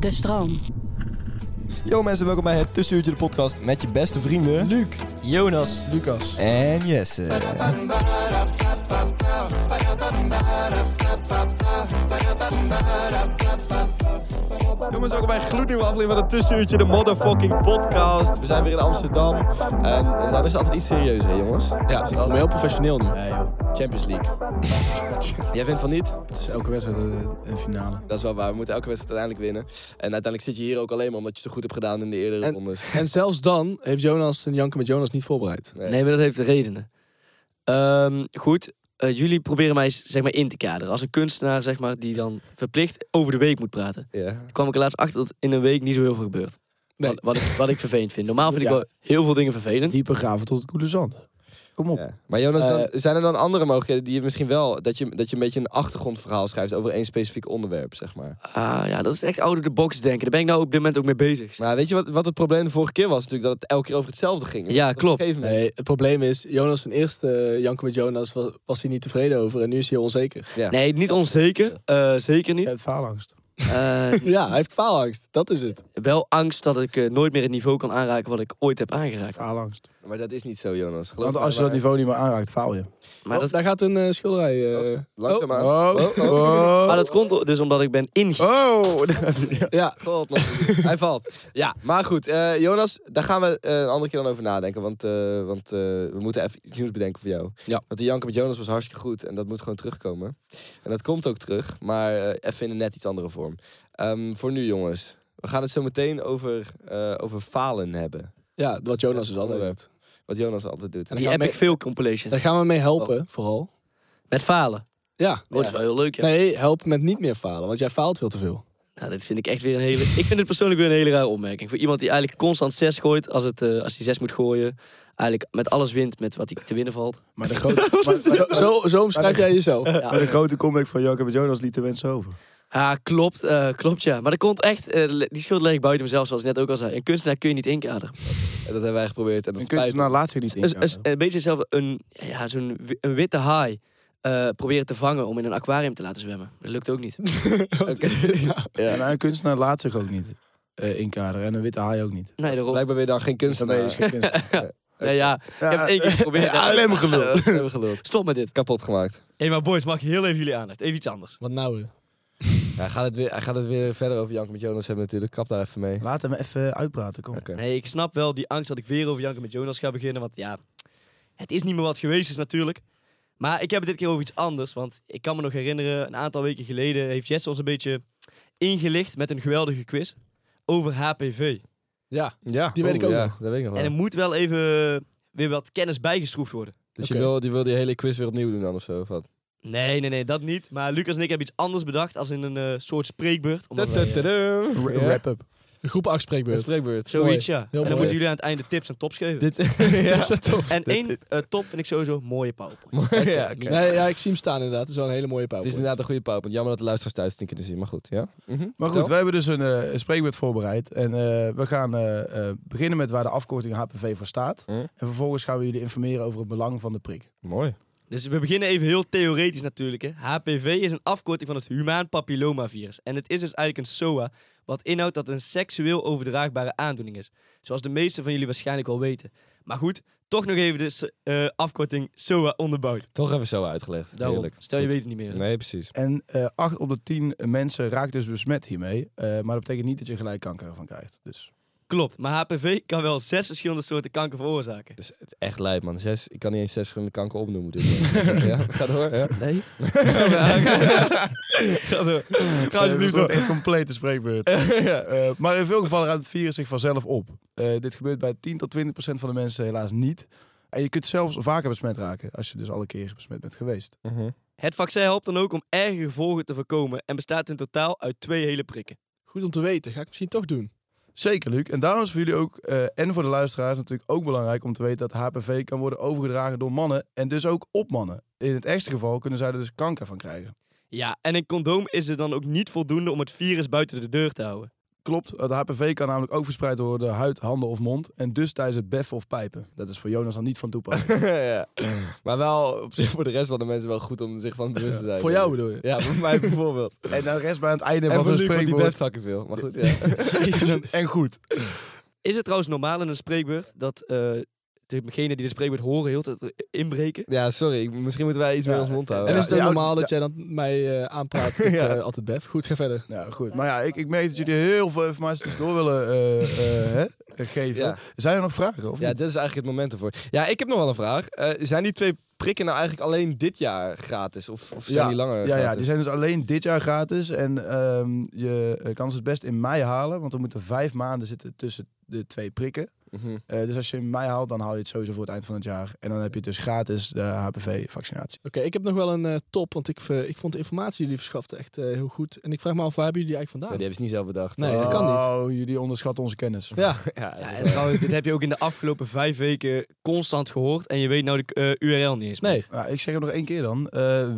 De stroom. Yo mensen, welkom bij het Tussenuurtje de podcast met je beste vrienden... Luc, Jonas Lucas. en Jesse. Jongens, welkom bij een gloednieuwe aflevering van het Tussenuurtje, de motherfucking podcast. We zijn weer in Amsterdam en, en dan is het altijd iets serieuzer, hè, jongens. Ja, ik voel me heel professioneel nu. Nee joh, Champions League. Jij vindt van niet? Het is elke wedstrijd een, een finale. Dat is wel waar, we moeten elke wedstrijd uiteindelijk winnen. En uiteindelijk zit je hier ook alleen maar omdat je het zo goed hebt gedaan in de eerdere En- rondes. En zelfs dan heeft Jonas een janken met Jonas niet voorbereid. Nee, maar dat heeft redenen. Ehm, goed, eh, jullie proberen mij zeg maar in te kaderen. Als een kunstenaar zeg maar, die dan verplicht over de week moet praten. Ja. kwam ik er laatst achter dat in een week niet zo heel veel gebeurt. Nee. Wat, wat, ik, wat ik vervelend vind. Normaal vind ik Ja. wel heel veel dingen vervelend. Diepe graven tot het koele zand. Kom op. Ja. Maar Jonas, dan- Eh, zijn er dan andere mogelijkheden die je misschien wel... Dat je, dat je een beetje een achtergrondverhaal schrijft over één specifiek onderwerp, zeg maar. Ah, ja, dat is echt out of the box denken. Daar ben ik nou op dit moment ook mee bezig. Maar weet je wat, wat het probleem de vorige keer was? Natuurlijk dat het elke keer over hetzelfde ging. Ja, Dat op klopt. een gegeven moment- Nee, het probleem is, Jonas zijn eerste eh, janken met Jonas was, was hij niet tevreden over en nu is hij heel onzeker. Nee, niet onzeker. eh, zeker niet. heeft faalangst. Eh, Ja, hij heeft faalangst. Dat is het. wel angst dat ik eh, nooit meer het niveau kan aanraken wat ik ooit heb aangeraakt. Faalangst. Maar dat is niet zo, Jonas. Geloof Want me, als je maar- dat niveau niet meer aanraakt, faal je. Maar dat, daar gaat een eh, schilderij. eh, Langzaamaan. Oh, oh, maar dat komt dus omdat ik ben inge... oh. Ja, God, nog niet. hij valt. Ja, maar goed. eh, Jonas, daar gaan we eh, een andere keer dan over nadenken. Want, eh, want eh, we moeten even iets nieuws bedenken voor jou. Ja. Want die Janken met Jonas was hartstikke goed. En dat moet gewoon terugkomen. En dat komt ook terug. Maar eh, even in een net iets andere vorm. Ehm, voor nu, jongens. We gaan het zo meteen over, eh, over falen hebben. ja, wat Jonas dus altijd Onderwerp. doet. Wat Jonas altijd doet. En Die gaan heb we- ik veel compilations. Daar gaan we mee helpen, vooral. Met falen. Ja. Oh, dat is wel heel leuk, ja. Nee, helpen met niet meer falen, want jij faalt veel te veel. Nou, dit vind ik echt weer een hele... Ik vind het persoonlijk weer een hele rare opmerking. Voor iemand die eigenlijk constant zes gooit, als, het, eh, als hij zes moet gooien. Eigenlijk met alles wint, met wat hij te winnen valt. Maar de grote, maar, Zo, zo, zo omschrijf jij jezelf. Ja. maar de grote comeback van Jacob en Jonas liet de wensen over. Ja, klopt, eh, klopt ja. Maar dat komt echt, eh, le- die schuld leg ik buiten mezelf, zoals ik net ook al zei. Een kunstenaar kun je niet inkaderen. En dat hebben wij geprobeerd. En dat En kun je spijt dus me. na laatst weer niet Is- is in. een beetje hetzelfde, een, ja, zo'n wi- een witte haai eh, proberen te vangen om in een aquarium te laten zwemmen. Dat lukt ook niet. En een kunstenaar laat zich ook niet eh, inkaderen. En een witte haai ook niet. Nee, daarom. Blijkbaar ben je dan geen Dan ben je dus kunstenaar. geen kunstenaar. Nee, ja, ik heb het één keer geprobeerd. Ja, alleen maar gelul. Dat hebben we geluld. Stop met dit. Kapot gemaakt. Hé, maar boys, mag ik heel even jullie aandacht? Even iets anders. Wat nou weer? Ja, hij, gaat het weer, hij gaat het weer verder over Janken met Jonas hebben natuurlijk. Kap daar even mee. Laat hem even uitpraten, kom. Oké. Nee, ik snap wel die angst dat ik weer over Janken met Jonas ga beginnen. Want ja, het is niet meer wat geweest is natuurlijk. Maar ik heb het dit keer over iets anders. Want ik kan me nog herinneren, een aantal weken geleden heeft Jets ons een beetje ingelicht met een geweldige quiz over HPV. Ja, Ja, Die weet ik ook ja, nog. Dat weet ik nog wel. En er moet wel even weer wat kennis bijgeschroefd worden. Dus Oké. je wil, die wil die hele quiz weer opnieuw doen dan of zo? Of wat? Nee, nee, nee, dat niet. Maar Lucas en ik hebben iets anders bedacht als in een eh, soort spreekbeurt. Omdat wij, eh, R- Ja. Wrap-up. de groep Een afspreekbeurt. spreekbeurt. zoiets, ja. En dan mooi. moeten jullie aan het einde tips en tops geven. Dit Ja. ja. en één eh, top vind ik sowieso mooie PowerPoint. ja, oké. Nee, ja, ik zie hem staan inderdaad. Het is wel een hele mooie Het pauze. is inderdaad een goede pauwpunt. Jammer dat de luisteraars thuis het niet kunnen zien, maar goed. Ja? Mhm. Maar goed, Vertel. we hebben dus een, eh, een spreekwoord voorbereid. En eh, we gaan eh, eh, beginnen met waar de afkorting HPV voor staat. Hm. En vervolgens gaan we jullie informeren over het belang van de prik. Mooi. Dus we beginnen even heel theoretisch natuurlijk. Hè. HPV is een afkorting van het humaan papillomavirus. En het is dus eigenlijk een SOA, wat inhoudt dat het een seksueel overdraagbare aandoening is. Zoals de meesten van jullie waarschijnlijk wel weten. Maar goed, toch nog even de s- eh, afkorting SOA onderbouwd. Toch even zo uitgelegd. Daarom. Heerlijk. Stel je Goed. weet het niet meer. Nee, precies. En eh, acht op de tien mensen raakt dus besmet hiermee. Eh, maar dat betekent niet dat je gelijk kanker ervan krijgt. Dus Klopt, maar HPV kan wel zes verschillende soorten kanker veroorzaken. Dus het is echt lijp, man. Zes, ik kan niet eens zes verschillende kanker opnoemen. Dus, ja, ga door. Ja. Nee? Ga alsjeblieft door. Eh, Echt complete spreekbeurt. Eh, maar in veel gevallen ruimt het virus zich vanzelf op. Eh, dit gebeurt bij 10 tot 20 procent van de mensen helaas niet. En je kunt zelfs vaker besmet raken als je dus alle keren besmet bent geweest. Mhm. Het vaccin helpt dan ook om erge gevolgen te voorkomen en bestaat in totaal uit twee hele prikken. Goed om te weten. Ga ik misschien toch doen. Zeker, Luc. En daarom is voor jullie ook eh, en voor de luisteraars natuurlijk ook belangrijk om te weten dat HPV kan worden overgedragen door mannen en dus ook op mannen. In het ergste geval kunnen zij er dus kanker van krijgen. Ja, en een condoom is er dan ook niet voldoende om het virus buiten de deur te houden. Klopt, het HPV kan namelijk ook verspreid worden door huid, handen of mond. En dus tijdens het beffen of pijpen. Dat is voor Jonas dan niet van toepassing. ja. Maar wel op zich voor de rest van de mensen wel goed om zich van bewust te zijn. Voor jou bedoel je? Ja, voor mij bijvoorbeeld. en de rest bij het einde En van voor zo'n Luc, want die beft fucking spreekwoord. veel. Maar goed, ja. En goed. Is het trouwens normaal in een spreekbeurt dat eh degene die de spreekbeurt horen heel de tijd eh, inbreken? Ja, sorry. ik- Misschien moeten wij iets meer Ja, ons mond en houden. En Ja, is het ook ja, normaal ja. dat jij dan mij eh, aanpraat dat ik oh, Ja. eh, altijd bef? Goed, ga verder. Nou goed, maar ja, ik, ik merk dat jullie heel veel informatie tussendoor willen eh, eh, hè, geven. Ja. Zijn er nog vragen? Of Ja, niet? dit is eigenlijk het moment ervoor. Ja, ik heb nog wel een vraag. Eh, zijn die twee prikken nou eigenlijk alleen dit jaar gratis? Of, of zijn Ja, die langer ja, ja, die eh, gratis? zijn dus alleen dit jaar gratis. En ehm, je eh, kan ze het best in mei halen, want er moeten vijf maanden zitten tussen de twee prikken. Mhm. Eh, dus als je in mei haalt, dan haal je het sowieso voor het eind van het jaar. En dan heb je dus gratis de HPV-vaccinatie. Oké, ik heb nog wel een eh, top, want ik, ver- ik vond de informatie die jullie verschaften echt eh, heel goed. En ik vraag me af, waar hebben jullie die eigenlijk Nee, die vandaan? hebben ze niet zelf bedacht. Nee, dat kan niet. Oh, jullie onderschatten onze kennis. Ja, Ja, Ja, en trouwens, dit heb je ook in de afgelopen vijf weken constant gehoord. En je weet nou de eh, URL niet eens meer. nee. Nou, ik zeg het nog één keer dan. eh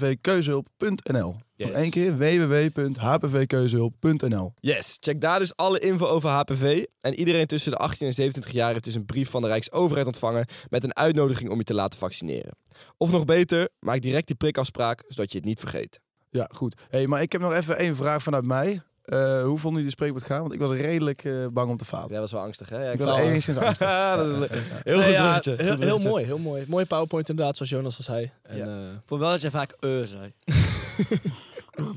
www.hpvkeuzehulp.nl Nog één keer www.hpvkeuzehulp.nl Yes, check daar dus alle info over HPV. En iedereen tussen de 18 en 27 jaar heeft dus een brief van de Rijksoverheid ontvangen met een uitnodiging om je te laten vaccineren. Of nog beter, maak direct die prikafspraak zodat je het niet vergeet. Ja, goed. hey, maar ik heb nog even één vraag vanuit mij. Eh, hoe vonden jullie de spreekwoord gaan? Want ik was redelijk eh, bang om te falen. Jij was wel angstig, hè? Ja, ik zag was het. enigszins angstig. dat is leuk. Heel Nee, goed ja, bruggetje. heel, heel mooi, heel mooi. Mooie PowerPoint inderdaad, zoals Jonas al zei. En, eh, Voor wel dat jij vaak eh zei.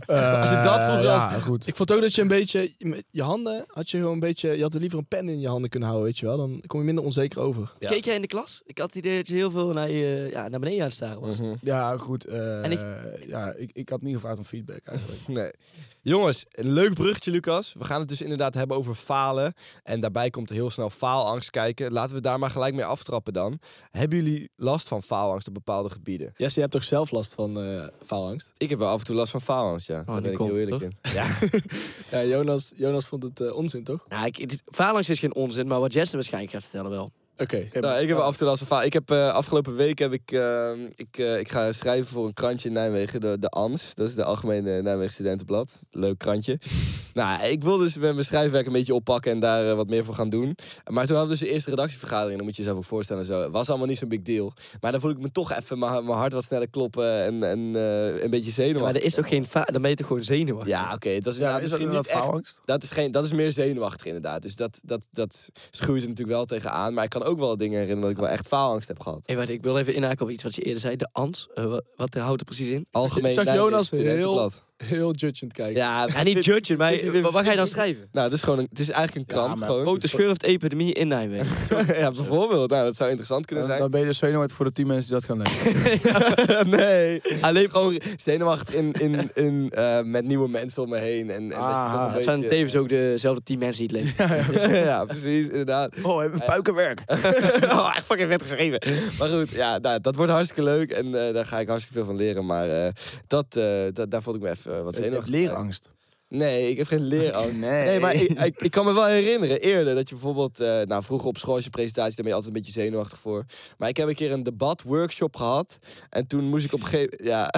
Eh, Als je dat vroeger Ja, goed. ik vond ook dat je een beetje, met je handen had je gewoon een beetje, je had er liever een pen in je handen kunnen houden, weet je wel. Dan kom je minder onzeker over. Ja. Keek jij in de klas? Ik had het idee dat je heel veel naar, je, eh, ja, naar beneden aan het staren was. Mhm. Ja, goed. eh, En ja, ik, ik had niet gevraagd om feedback eigenlijk. Nee. Jongens, een leuk bruggetje, Lucas. We gaan het dus inderdaad hebben over falen. En daarbij komt er heel snel faalangst kijken. Laten we daar maar gelijk mee aftrappen dan. Hebben jullie last van faalangst op bepaalde gebieden? Jesse, je hebt toch zelf last van eh, faalangst? Ik heb wel af en toe last van faalangst, ja. Daar nu ben ik komt heel het, eerlijk in. Ja. Ja, Jonas, Jonas vond het eh, onzin, toch? Nou, ik, het, phalanx is geen onzin, maar wat Jesse waarschijnlijk gaat vertellen wel. Oké. Nou, ik heb af en toe last van faal. Ik heb eh, afgelopen week heb ik, eh, ik, eh, ik ga schrijven voor een krantje in Nijmegen, de, de ANS. Dat is de Algemene Nijmegen Studentenblad. Leuk krantje. nou, ik wil dus met mijn schrijfwerk een beetje oppakken en daar eh, wat meer voor gaan doen. Maar toen hadden we dus de eerste redactievergadering, dan moet je jezelf ook voorstellen. Zo. Was allemaal niet zo'n big deal. Maar dan voel ik me toch even mijn mijn hart wat sneller kloppen en, en eh, een beetje zenuwachtig. maar er is ook geen fa- dan ben je toch gewoon zenuwachtig. Ja, oké. het was Ja, inderdaad is dat misschien inderdaad niet echt faalangst? dat is, geen, dat is meer zenuwachtig inderdaad. Dus dat, dat, dat schuurt er natuurlijk wel tegenaan. Maar ik kan ook wel dingen herinneren dat ik wel echt faalangst heb gehad. Hey, wacht, ik wil even inhaken op iets wat je eerder zei. De ant. Eh, wa- wat houdt het precies in? Algemeen ik zag Nijmegen Jonas Studentenblad. Heel judgend kijken. Ja, Ja, niet judgen, maar dit- dit- wat, wat ga je dan schrijven? nou, het is, gewoon een, het is eigenlijk een Ja, krant. maar gewoon. Grote schurft-epidemie in Nijmegen. ja, bijvoorbeeld. Nou, dat zou interessant kunnen Dan, zijn. dan ben je dus zenuwachtig voor de tien mensen die dat gaan lezen. nee. Alleen Gewoon zenuwachtig in, in, in, eh, met nieuwe mensen om me heen. En, en dat je Ah, toch een dat Het zijn beetje- tevens ook dezelfde tien mensen die het lezen. ja, precies, inderdaad. Oh, hebben puikenwerk. oh, echt fucking vet geschreven. Maar goed, ja, nou, dat wordt hartstikke leuk en eh, daar ga ik hartstikke veel van leren. Maar eh, dat, eh, da- daar vond ik me even eh, wat zenuwachtig. bij. Leerangst. Oh, Nee, ik heb geen leerangst. Nee. Nee, maar ik, ik, ik kan me wel herinneren eerder dat je bijvoorbeeld, eh, nou vroeger op school als je presentatie, daar ben je altijd een beetje zenuwachtig voor. Maar ik heb een keer een debat-workshop gehad en toen moest ik op een gegeven ja,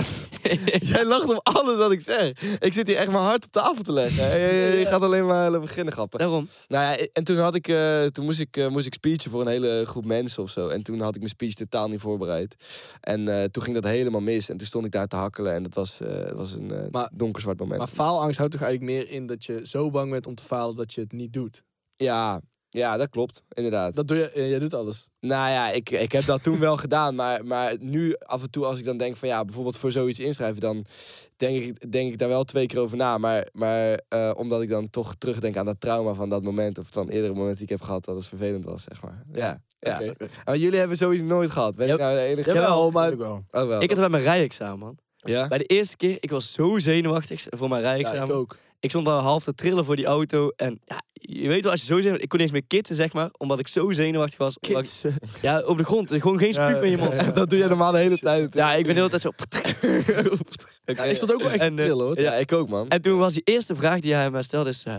jij lacht om alles wat ik zeg. Ik zit hier echt mijn hart op tafel te leggen. Je, je- je gaat alleen maar eh, beginnen grappen. Daarom. Nou ja, en toen, had ik, eh, toen moest, ik, eh, moest ik speechen voor een hele groep mensen of zo. En toen had ik mijn speech totaal niet voorbereid. En eh, toen ging dat helemaal mis. En toen stond ik daar te hakkelen. En dat was, eh, dat was een eh, Maar- donkerzwart moment. Maar faalangst houdt toch eigenlijk meer in dat je zo bang bent om te falen dat je het niet doet. ja, ja, dat klopt. Inderdaad. Dat doe je, eh, jij doet alles. Nou ja, ik, ik heb dat toen wel gedaan. Maar, maar nu af en toe als ik dan denk van ja, bijvoorbeeld voor zoiets inschrijven. Dan denk ik, denk ik daar wel twee keer over na. Maar, maar eh, omdat ik dan toch terugdenk aan dat trauma van dat moment. Of van eerdere moment die ik heb gehad dat het vervelend was, zeg maar. Ja. ja. Oké. Maar jullie hebben zoiets nooit gehad. Ben ik Ja. nou de enige? Jawel, maar Ik wel. Oh, wel. ik had het bij mijn rijexamen, man. Ja? Bij de eerste keer, ik was zo zenuwachtig voor mijn Ja, ik rijexamen. ik, ook. stond al half te trillen voor die auto. En ja, je weet wel, als je zo zenuwachtig... Ik kon niet eens meer kitsen, zeg maar. Omdat ik zo zenuwachtig was. omdat ik- ja, op de grond. Gewoon geen spuug Ja, meer in je mond. zeg maar. Dat doe jij normaal de hele tijd. Ja, ik ben de hele tijd zo... Ja, ik stond ook wel echt En, te eh, trillen hoor. Ja, ik ook, man. En toen was die eerste vraag die hij mij stelde is... eh,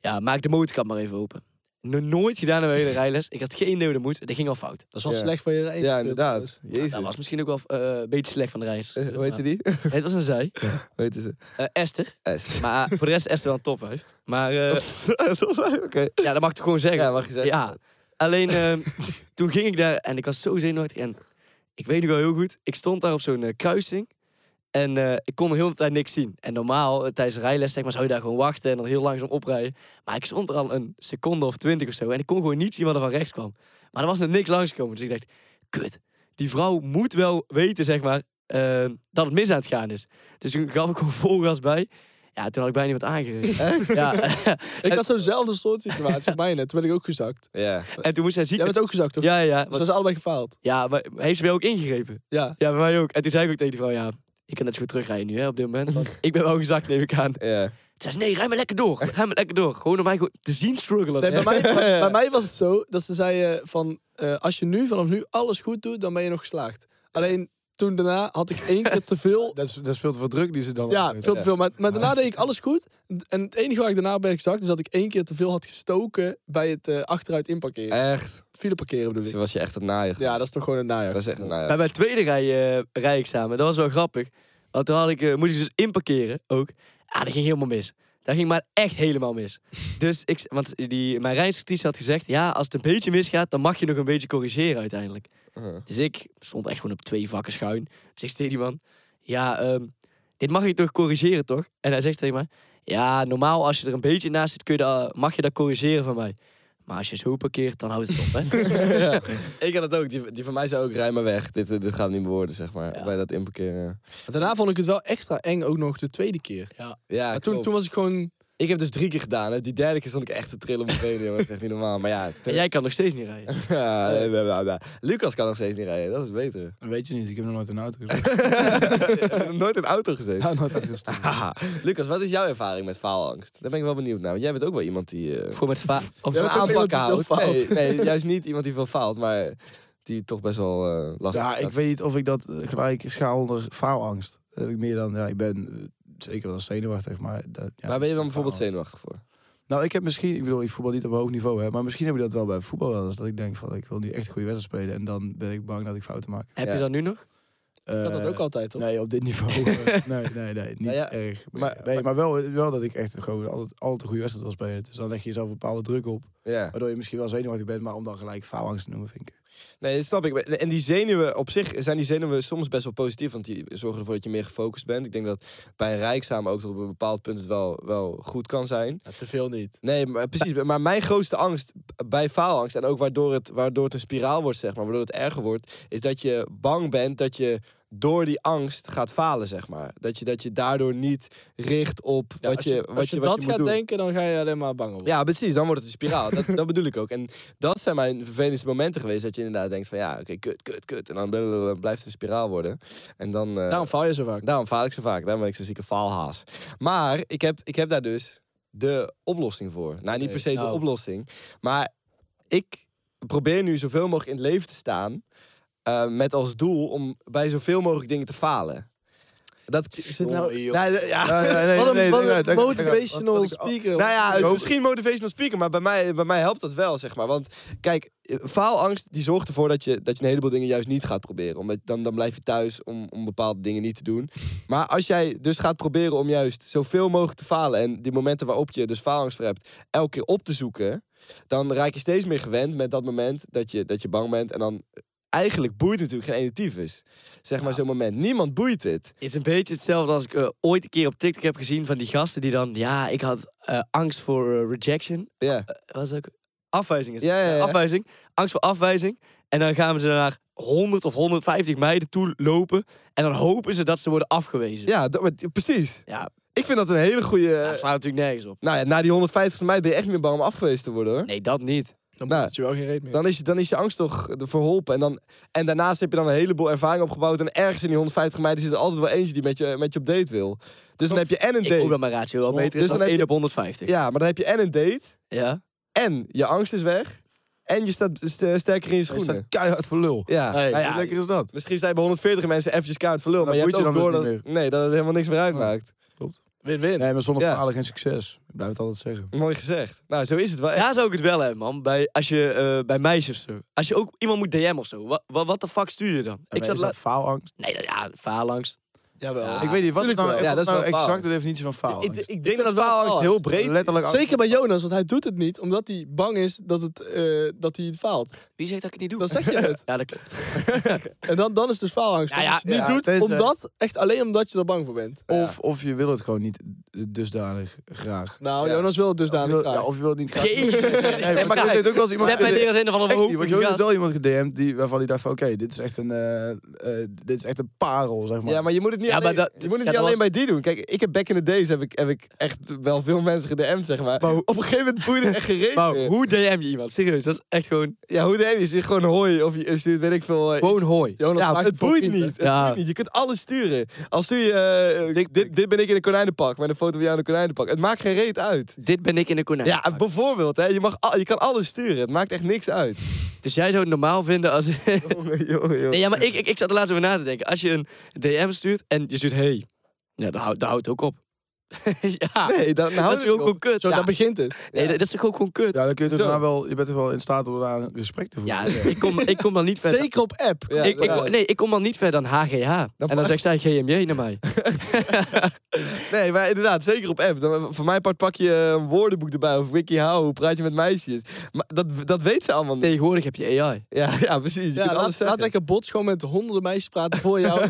ja, maak de motorkap maar even open. nog nooit gedaan in mijn hele rijles. Ik had geen idee hoe dat moest. Dat ging al fout. Dat is wel Ja. slecht voor je race. Ja, inderdaad. Nou, Jezus. dat was misschien ook wel eh, een beetje slecht van de reis. Eh, Hoe heette die? Het was een zij. Hoe heette ze? Eh, Esther. S. Maar eh, voor de rest is Esther wel een top vijf. Maar eh, Oké. ja, dat mag ik toch gewoon zeggen. Ja, mag je zeggen. Ja, alleen ehm, toen ging ik daar en ik was zo zenuwachtig. En ik weet nog wel heel goed, ik stond daar op zo'n eh, kruising. En eh, ik kon de hele tijd niks zien. En normaal, eh, tijdens de rijles, zeg maar, zou je daar gewoon wachten en dan heel langzaam oprijden. Maar ik stond er al een seconde of twintig of zo. En ik kon gewoon niet zien wat er van rechts kwam. Maar er was nog niks langskomen. Dus ik dacht, kut, die vrouw moet wel weten, zeg maar, eh, dat het mis aan het gaan is. Dus toen gaf ik gewoon vol gas bij. Ja, toen had ik bijna iemand aangereden. ja, Ik had zo'nzelfde soort situatie voor mij net. Toen ben ik ook gezakt. Ja. en toen moest hij ziek. Jij bent ook gezakt, toch? Ja, ja. Dus want- we zijn allebei gefaald. Ja, maar heeft ze bij jou ook ingegrepen? Ja. Ja, bij mij ook. En toen zei ik ook tegen die vrouw, ja, ik kan net zo goed terugrijden nu hè, op dit moment. Want ik ben wel gezakt, neem ik aan. Toen Ja. zei ze, nee, rij maar lekker door. Rij maar lekker door. Gewoon om mij gewoon te zien struggelen. Nee, bij, mij, bij, bij mij was het zo dat ze zeiden van... eh, als je nu vanaf nu alles goed doet, dan ben je nog geslaagd. Alleen toen daarna had ik één keer te veel... Dat, is- dat speelt voor druk die ze dan... Ja, afgeven. veel te veel. Maar, maar daarna deed ik alles goed. En het enige waar ik daarna ben gezakt, is dat ik één keer te veel had gestoken bij het eh, achteruit inparkeren. Echt. File parkeren bedoel Ze ik. was je echt het najaar. Ja, dat is toch gewoon een najaar. Dat is echt een najaar. Bij mijn tweede rij, eh rijexamen, dat was wel grappig. Want toen had ik, eh, moest ik dus inparkeren ook. Ah, dat ging helemaal mis. Dat ging maar echt helemaal mis. Dus ik, want die, mijn rijinstructrice had gezegd, ja, als het een beetje misgaat, dan mag je nog een beetje corrigeren uiteindelijk. Uh-huh. Dus ik stond echt gewoon op twee vakken schuin. Dus ik tegen die man, ja, ehm, dit mag je toch corrigeren, toch? En hij zegt tegen mij, ja, normaal als je er een beetje naast zit, kun je dat, mag je dat corrigeren van mij. Maar als je zo parkeert, dan houdt het op, hè? ja. eh, Ik had dat ook. Die, die van mij zei ook, rij maar weg. Dit, eh, dit gaat niet meer worden, zeg maar. Ja. Bij dat inparkeren. Daarna vond ik het wel extra eng, ook nog de tweede keer. Ja, Maar toen, klopt. toen was ik gewoon... Ik heb dus drie keer gedaan. Hè. Die derde keer stond ik echt te trillen op mijn benen. jongen. Dat is echt niet normaal. Maar ja, En jij kan nog steeds niet rijden. Ja, eh, bla, bla, bla. Lucas kan nog steeds niet rijden. Dat is beter. Dat weet je niet, ik heb nog nooit een auto gezien. Nooit in de auto gezeten. nou, nooit uitgestoken. Haha. Lucas, wat is jouw ervaring met faalangst? Daar ben ik wel benieuwd naar. Want jij bent ook wel iemand die eh Voor met va- of Ja, van bent ook iemand aanpakken houdt. die veel Nee, faalt. nee, juist niet iemand die veel faalt, maar die toch best wel eh lastig Ja, ik gaat. weet niet of ik dat eh, gelijk schaal onder faalangst. Dat heb ik meer dan, ja, ik ben eh, zeker wel zenuwachtig, maar... dat- ja, Waar ben je dan bijvoorbeeld faalangst. zenuwachtig voor? Nou, ik heb misschien, ik bedoel, ik voetbal niet op een hoog niveau, hè, maar misschien heb je dat wel bij voetbal wel eens. Dat ik denk van, ik wil nu echt een goede wedstrijd spelen en dan ben ik bang dat ik fouten maak. Heb Ja. je dat nu nog? Eh, Ik had dat ook altijd, toch? Nee, op dit niveau. eh, nee, nee, nee, niet Nou ja, erg. maar- Maar, nee, maar wel, wel dat ik echt gewoon altijd, altijd een goede wedstrijd wil spelen. Dus dan leg je jezelf een bepaalde druk op, Ja. waardoor je misschien wel zenuwachtig bent, maar om dan gelijk faalangst te noemen, vind ik. Nee, dat snap ik. En die zenuwen, op zich zijn die zenuwen soms best wel positief. Want die zorgen ervoor dat je meer gefocust bent. Ik denk dat bij een rijksamen ook tot op een bepaald punt het wel, wel goed kan zijn. Ja, te veel niet. Nee, maar, precies. Maar mijn grootste angst bij faalangst, en ook waardoor het, waardoor het een spiraal wordt, zeg maar, waardoor het erger wordt, is dat je bang bent dat je door die angst gaat falen, zeg maar. Dat je, dat je daardoor niet richt op wat als je, je, wat als je, je, wat dat je moet gaat doen. denken, dan ga je alleen maar bang worden. Ja, precies. Dan wordt het een spiraal. dat, dat bedoel ik ook. En dat zijn mijn vervelendste momenten geweest. Dat je inderdaad denkt van ja, oké, kut, kut, kut. En dan blablabla, blijft het een spiraal worden. En dan... eh, Daarom faal je zo vaak. Daarom faal ik zo vaak. Daarom ben ik zo'n zieke faalhaas. Maar ik heb, ik heb daar dus de oplossing voor. Nou, niet per se de nou. oplossing. Maar ik probeer nu zoveel mogelijk in het leven te staan. eh, met als doel om bij zoveel mogelijk dingen te falen. Dat... Is het nou... Nee, d- ja. Wat een, wat een nee, nee, motivational wat- wat ik- speaker. Nou ja, Ik het- hoop- misschien motivational speaker, maar bij mij, bij mij helpt dat wel, zeg maar. Want kijk, eh, faalangst die zorgt ervoor dat je, dat je een heleboel dingen juist niet gaat proberen. Omdat dan, dan blijf je thuis om, om bepaalde dingen niet te doen. Maar als jij dus gaat proberen om juist zoveel mogelijk te falen... en die momenten waarop je dus faalangst voor hebt, elke keer op te zoeken... dan raak je steeds meer gewend met dat moment dat je, dat je bang bent... en dan eh, eigenlijk boeit het natuurlijk geen enitief is. Zeg maar zo'n moment. Niemand boeit het. Het is een beetje hetzelfde als ik eh, ooit een keer op TikTok heb gezien van die gasten die dan, ja, ik had eh, angst voor eh, rejection. Ja, Wat is dat ook? Afwijzing is het. ja, ja. Eh, ja. Afwijzing. Angst voor afwijzing. En dan gaan ze naar 100 of 150 meiden toe lopen. En dan hopen ze dat ze worden afgewezen. Ja, dat, maar- precies. Ja. Ik vind dat een hele eh, goede... dat slaat natuurlijk nergens op. Nou ja, na die 150 van mij ben je echt niet meer bang om afgewezen te worden hoor. Nee, dat niet. Dan Nou, moet je wel geen reet meer. Dan is, je- dan is je angst toch eh, verholpen. En, dan, en daarnaast heb je dan een heleboel ervaring opgebouwd. En ergens in die 150 meiden zit er altijd wel eentje die met je, met je op date wil. Dus dan heb je en een Ik hoop date. dat mijn ratio wel Zo. beter is Dus dan, dan heb 1 op 150. Ja, maar dan heb je en een date. Ja. En je angst is weg. En je staat st- sterker in je Je staat schoenen. keihard voor lul. Ja, Hey, nou Hoe ja, lekker is dat? misschien sta je bij 140 mensen eventjes kaart verloren. Dat Maar je hebt boeit ook je door dan dus dat, niet nee, dat het helemaal niks meer uitmaakt. Klopt. Win-win. Nee, maar zonder Ja. verhalen geen succes. Ik blijf het altijd zeggen. Mooi gezegd. Nou, zo is het wel echt. Daar zou ik het wel hebben, man. Bij, als je, eh, bij meisjes of zo. Als je ook iemand moet DM of zo. Wat wat de fuck stuur je dan? Ik ik zat is la- dat faalangst? Nee, dat- ja, faalangst. Jawel. Ja. ik weet niet, wat is tuurlijk nou, wel. wat Ja, dat is is nou wel exact faalangst. de definitie van Ik, faalangst? ik- ik vind denk dat dat wel faalangst faalangst. heel breed Letterlijk angst. Zeker bij Jonas, want hij doet het niet omdat hij bang is dat, het, eh, dat hij het faalt. Wie zegt dat ik het niet doe? Dan zeg je het. Ja, dat klopt. En dan, dan is het dus faalangst. Ja, ja, als je het niet ja, doet, tenzij- omdat, echt alleen omdat je er bang voor bent. Of, of je wil het gewoon niet eh, dusdanig graag. Nou, Ja. Jonas wil het dus Of je dadelijk wil, graag. ja, of je wil het niet graag. Jezus. Nee, maar, ik weet ook wel eens iemand... Zet mij Echt neer als een of andere niet, want hoop. je hebt wel iemand gedm'd die, waarvan hij dacht van... Oké, dit is echt een... eh, eh, dit is echt een parel, zeg maar. Ja, maar je moet het niet, Ja, maar alleen, dat- je moet het ja, niet dat alleen bij die doen. Kijk, ik heb back in the days heb ik, heb ik echt wel veel mensen gedm'd, zeg maar. Op een gegeven moment boeit het echt gereed. Wauw, meer. hoe DM je iemand? Serieus, dat is echt gewoon... Ja, hoe deed je? Is gewoon hooi of je stuurt, weet ik veel. eh, Gewoon hooi. Jonas ja, maakt het boeit voor niet. vrienden. Het Ja. boeit niet. Je kunt alles sturen. Als stuur je, eh, dit, dit ben ik in een konijnenpak, met een foto van jou in een konijnenpak. Het maakt geen reet uit. Dit ben ik in de konijn. Ja, bijvoorbeeld, hè, je, mag al- je kan alles sturen. Het maakt echt niks uit. Dus jij zou het normaal vinden als... Jongen, jongen, jongen. nee, ja, maar ik, ik, ik zat er laatst over na te denken. Als je een DM stuurt en je stuurt hey. Ja, dat houdt, dat houdt ook op. ja, Nee, dan dan dat houdt is het ook ook gewoon kut. Zo, Ja. daar begint het. Nee, dat is toch ook gewoon kut? Ja, dan kun je het Zo. daarna wel... Je bent er wel in staat om daar een gesprek te voeren. Ja, ik kom, ik kom dan niet verder. Zeker op app. Ja, ik, ik, ja. nee, ik kom dan niet verder dan HGH. en dan mag- zegt zij GMJ naar mij. Nee, maar inderdaad, zeker op app. Dan, eh, voor mijn part pak je een woordenboek erbij of WikiHow, hoe praat je met meisjes. Maar dat, dat weet ze allemaal niet. Tegenwoordig heb je AI. Ja, ja precies. Je Ja, kunt alles laat, laat zeggen. lekker bots gewoon met honderden meisjes praten voor jou.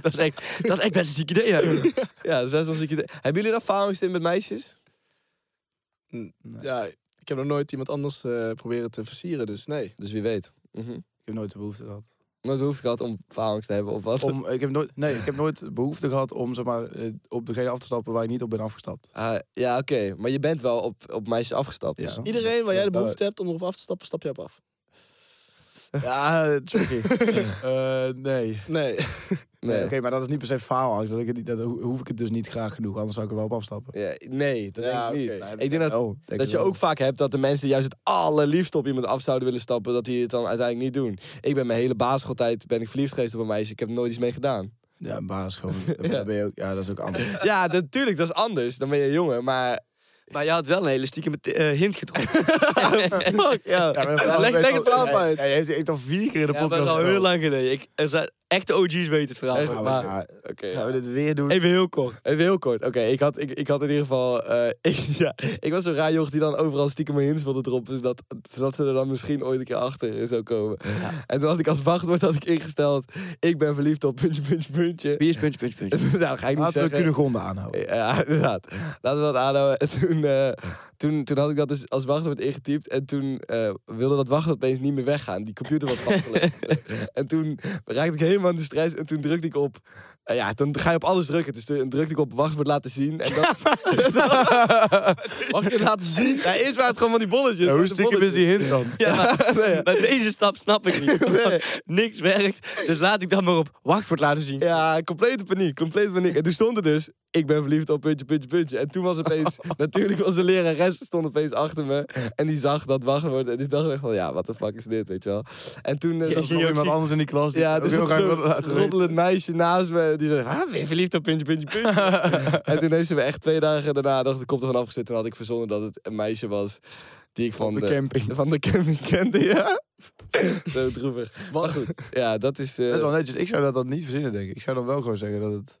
dat, is echt, dat is echt best een ziek idee. hè. Ja, dat is best wel een ziek idee. Hebben jullie ervaring in met meisjes? ja, ik heb nog nooit iemand anders eh, proberen te versieren, dus nee. Dus wie weet. Ik heb nooit de behoefte gehad. Nooit behoefte gehad om ervaring te hebben of wat. Om, ik heb nooit, nee, ik heb nooit behoefte gehad om zeg maar, eh, op degene af te stappen waar ik niet op ben afgestapt. Ah, ja, oké. Maar je bent wel op, op meisjes afgestapt. Ja. dus- Iedereen waar jij de Ja, behoefte hebt om erop af te stappen, stap je op af. Ja, tricky. Eh, nee. Nee. Nee, Nee. Oké, maar dat is niet per se faalangst. Dat, ik het niet- dat ho- hoef ik het dus niet graag genoeg, anders zou ik er wel op afstappen. Ja, nee, dat Ja, denk ik niet. oké. Ik denk dat, Oh, denk dat het je wel. ook vaak hebt dat de mensen die juist het allerliefst op iemand af zouden willen stappen, dat die het dan uiteindelijk niet doen. Ik ben mijn hele basisschooltijd ben ik verliefd geweest op een meisje. Ik heb er nooit iets mee gedaan. Ja, maar is gewoon... ja. Ben je ook, ja, dat is ook anders. Ja, dat- natuurlijk, dat is anders. Dan ben je een jongen, maar... Maar je had wel een hele stiekem eh, hint getrokken. Fuck, ja. Ja, maar dat leg- weet leg wel- het verhaal Ja, uit. ja, je heeft echt al vier keer in de Ja, podcast. dat is al verteld. heel lang geleden. Ik, er zijn, echte OG's weten het verhaal. Echt? van, Ja, maar maar ja, Oké, gaan we dit weer doen? even heel kort. Even heel kort. Oké, ik, had, ik, ik had in ieder geval... eh, ik, ja, ik was zo'n raar joch die dan overal stiekem mijn hints wilde droppen. Zodat, zodat ze er dan misschien ooit een keer achter zou komen. En toen had ik als wachtwoord had ik ingesteld... Ik ben verliefd op puntje, puntje, puntje. Wie is puntje, puntje, puntje? nou, dat ga ik niet Laten we zeggen. Cunegonde aanhouden. Ja, inderdaad. Laten we dat aanhouden. En toen, eh, toen, toen had ik dat dus als wachtwoord ingetypt. En toen eh, wilde dat wachtwoord opeens niet meer weggaan. Die computer was vastgelegd. en toen raakte ik helemaal in de stress. En toen drukte ik op... eh, ja, dan ga je op alles drukken. Dus toen drukte ik op wachtwoord laten zien. En dat, Mag ik het laten zien? ja, eerst waren het gewoon van die bolletjes. Ja, van hoe die stiekem is die hint dan? Ja, maar, maar deze stap snap ik niet. Want Niks werkt, dus laat ik dan maar op wachtwoord laten zien. Ja, complete paniek, complete paniek. En toen stond er dus, ik ben verliefd op puntje, puntje, puntje. En toen was opeens, natuurlijk was de lerares, stond opeens achter me. En die zag dat wachtwoord en die dacht echt van, ja, wat de fuck is dit, weet je wel. En toen... eh, Dat zat er is nog nog iemand iemand- anders in die klas. die- ja, dus Ook dat heel graag wil laten weten. roddelend meisje naast me, die zei, wat, ben je verliefd op puntje, puntje, puntje? en toen heeft ze me echt twee dagen daarna, dacht ik, kop ervan afgezet. Toen had ik verzonnen dat het een meisje was die ik van Op de, de camping. van de camping kende, ja. Zo droevig. Maar goed, ja, dat is... eh, Dat is wel netjes. Ik zou dat dan niet verzinnen, denk ik. Ik zou dan wel gewoon zeggen dat het...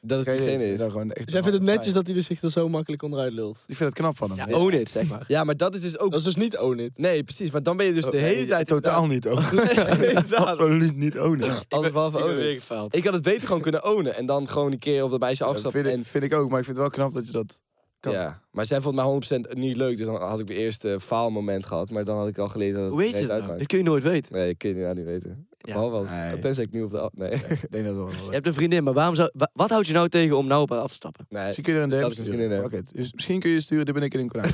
dat het Geen diegene is. gewoon echt Dus jij vindt het netjes dat hij er zich er zo makkelijk onderuit lult. Ik vind het knap van hem. Ja, own it, zeg maar. Ja, maar dat is dus ook Dat is dus niet own it. Nee, precies. Want dan ben je dus de Nee, hele tijd totaal niet ownen. Inderdaad. Absoluut niet ownen. Alles behalve Ik ben ownen. weer Ik, gefaald. had het beter gewoon kunnen ownen. En dan gewoon een keer op dat meisje Dat afstappen. vind, ik, en, vind ik ook, maar ik vind het wel knap dat je dat kan. ja. Maar zij vond mij 100% niet leuk. Dus dan had ik de eerste faalmoment gehad. Maar dan had ik al geleerd dat het Hoe weet je reet dat? nou? uitmaakt. Dat kun je nooit weten. Nee, ik kan je nou niet weten. Ja. Behalve als... Nee. Tenzij ik nu op de... af- Nee. Ik denk dat wel. Je hebt een vriendin, maar waarom zou, wa- wat houd je nou tegen om nou op haar af te stappen? nee. Misschien kun je er een DM Dat is misschien sturen. een- Fuck it. Dus misschien kun je sturen, dit ben ik in een konijn.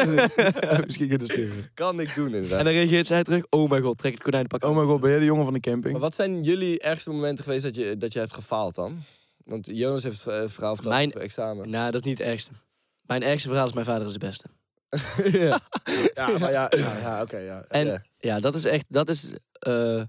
Ja, misschien kun je dat sturen. Kan ik doen, En inderdaad. dan reageert zij terug, oh mijn god, trek het konijnenpak Oh aan. mijn god, ben jij de jongen van de eh, Maar camping? wat zijn jullie ergste momenten geweest dat je, dat je hebt gefaald dan? Want Jonas heeft eh, het verhaal verteld Mijn- op het examen. Nou, dat is niet het ergste. Mijn ergste verhaal is mijn vader is de beste. ja. Ja, maar ja, ja, ja, oké. ja. En Ja. ja, dat is echt, dat is eh,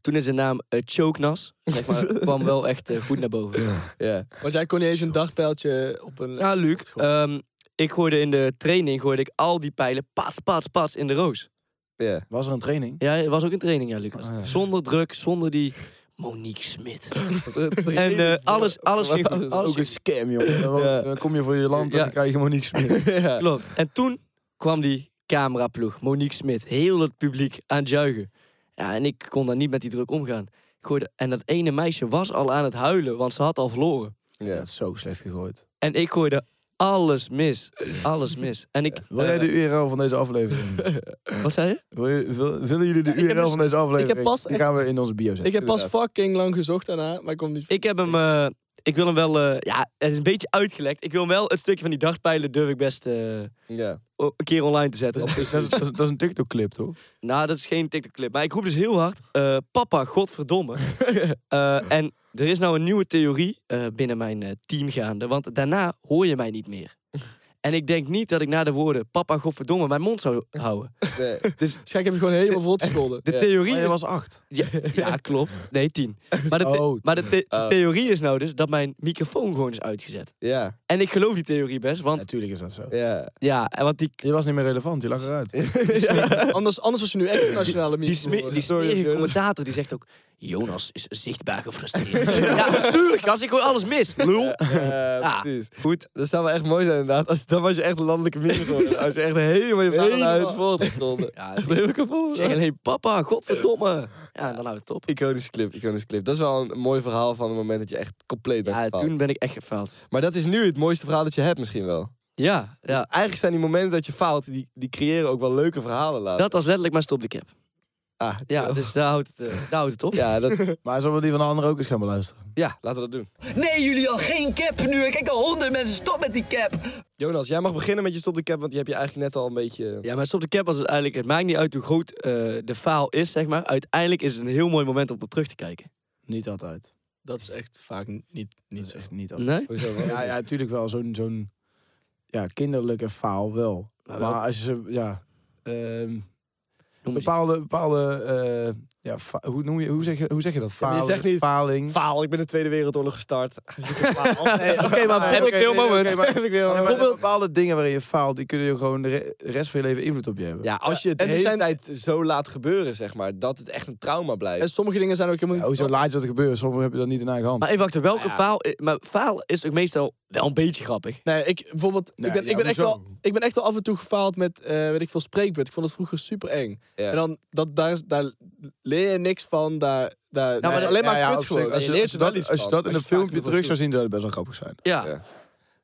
Toen is de naam eh, Choknas, zeg maar, kwam wel echt eh, goed naar boven. Ja. Want jij kon niet eens een dagpijltje op een... Ja, Luc, Goed. ehm, ik gooide in de training gooide ik al die pijlen pas, pas, pas in de roos. Ja. Was er een training? Ja, het was ook een training, ja, Lucas. Ah, ja. Zonder druk, zonder die Monique Smit. En En eh, alles, alles ging goed. Dat is alles ook een ging scam, jongen. Dan, Ja. dan kom je voor je land en Ja. dan krijg je gewoon niks meer. ja. Klopt. En toen kwam die cameraploeg, Monique Smit, heel het publiek aan het juichen. Ja, en ik kon daar niet met die druk omgaan. Ik gooide, en dat ene meisje was al aan het huilen, want ze had al verloren. Ja, Ja. het is zo slecht gegooid. En ik gooide alles mis. Alles mis. En ik... Wil jij eh, de URL van deze aflevering? Wat zei je? Wil je- wil- willen jullie de Ja, ik heb URL dus- van deze aflevering? pas Die echt- gaan we in onze bio zetten. Ik heb pas inderdaad. fucking lang gezocht daarna, maar ik kom niet... Ik heb hem... eh, ik wil hem wel... eh, ja, het is een beetje uitgelekt. Ik wil hem wel het stukje van die dagpijlen durf ik best eh, Ja. o- een keer online te zetten. Dat is, dat, is, dat is- dat is een TikTok-clip, toch? Nou, dat is geen TikTok-clip. Maar ik roep dus heel hard: eh, Papa, godverdomme. Eh, en er is nou een nieuwe theorie eh, binnen mijn eh, team gaande. Want daarna hoor je mij niet meer. En ik denk niet dat ik na de woorden Papa, godverdomme mijn mond zou houden. Nee. Dus ik heb je gewoon helemaal vol te scholden. De Ja. theorie. Maar is- je was acht. ja, ja, klopt. Nee, tien. Maar de, the- Oh. maar de, the- de Oh. theorie is nou dus dat mijn microfoon gewoon is uitgezet. Ja. En ik geloof die theorie best. Want Natuurlijk is dat zo. Ja. ja, en want die, Je was niet meer relevant, je lag eruit. Anders, anders was je nu echt een nationale die, meme. sme- Sorry, die smerige Jonas. commentator die zegt ook... Jonas is zichtbaar gefrustreerd. ja, natuurlijk. Als ik gewoon alles mis. Lul. Ja, Ah. Eh, precies. Goed. Dat zou wel echt mooi zijn inderdaad. Als, dan was je echt een landelijke meme geworden. Als je echt helemaal je vader Helemaal. uit voortgestonden. Ja, Echt heel kapot. Zeg alleen, papa, godverdomme. Ja, en dan houdt het op. Iconische clip, iconische clip. Dat is wel een mooi verhaal van het moment dat je echt compleet bent Ja, gefaald. toen ben ik echt gefaald. Maar dat is nu het mooiste verhaal dat je hebt misschien wel. Ja, Dus ja. eigenlijk zijn die momenten dat je faalt, die, die creëren ook wel leuke verhalen later. Dat was letterlijk mijn stop de cap. Ah, Ja, dus daar houdt het, eh, daar houdt het op. ja, dat, Maar zullen we die van de anderen ook eens gaan beluisteren? ja, laten we dat doen. Nee, jullie al geen cap nu. Ik kijk al honderd mensen. Stop met die cap. Jonas, jij mag beginnen met je stop de cap, want die heb je eigenlijk net al een beetje... Ja, mijn stop de cap was dus eigenlijk, het maakt niet uit hoe groot eh, de faal is, zeg maar. Uiteindelijk is het een heel mooi moment om op terug te kijken. Niet altijd. Dat is echt vaak niet, Dat niet is zo. echt niet altijd. Nee? Hoezo wel? Ja, ja, natuurlijk wel. Zo'n zo'n ja, kinderlijke faal wel. Maar wel. Maar als je ze, ja... ehm, Noem eens. bepaalde, bepaalde eh, ja, fa- hoe, noem je, hoe, zeg je, hoe zeg je dat? maar je Faling, zegt niet- faling. Faal, ik ben de Tweede Wereldoorlog gestart. Nee, Ah, Oké, maar Heb ik veel moment. Bijvoorbeeld bepaalde dingen waarin je faalt, die kunnen je gewoon de re- rest van je leven invloed op je hebben. Ja, als je het de en die hele zijn- tijd zo laat gebeuren, zeg maar, dat het echt een trauma blijft. En sommige dingen zijn ook Ja, helemaal niet... hoezo laat je dat gebeuren? Sommigen hebben dat niet in eigen hand. Maar even wachten, welke faal... i- Maar faal is ook meestal wel een beetje grappig. Nee, ik bijvoorbeeld, Nee, ik, ben, ja, ik, ben echt hoezo? wel, ik ben echt wel af en toe gefaald met, eh, weet ik veel, spreekbeurt. Ik vond het vroeger super eng. Ja. En dan, dat, daar, is- daar leer je niks van, daar, daar dat maar is dat- alleen maar Ja, ja, kut op zich, gewoon. Als Je je, leert als je er wel dat, iets als je van, dat in als een je vaak filmpje genoeg terug doet. zou zien, zou dat best wel grappig zijn. Ja. Ja.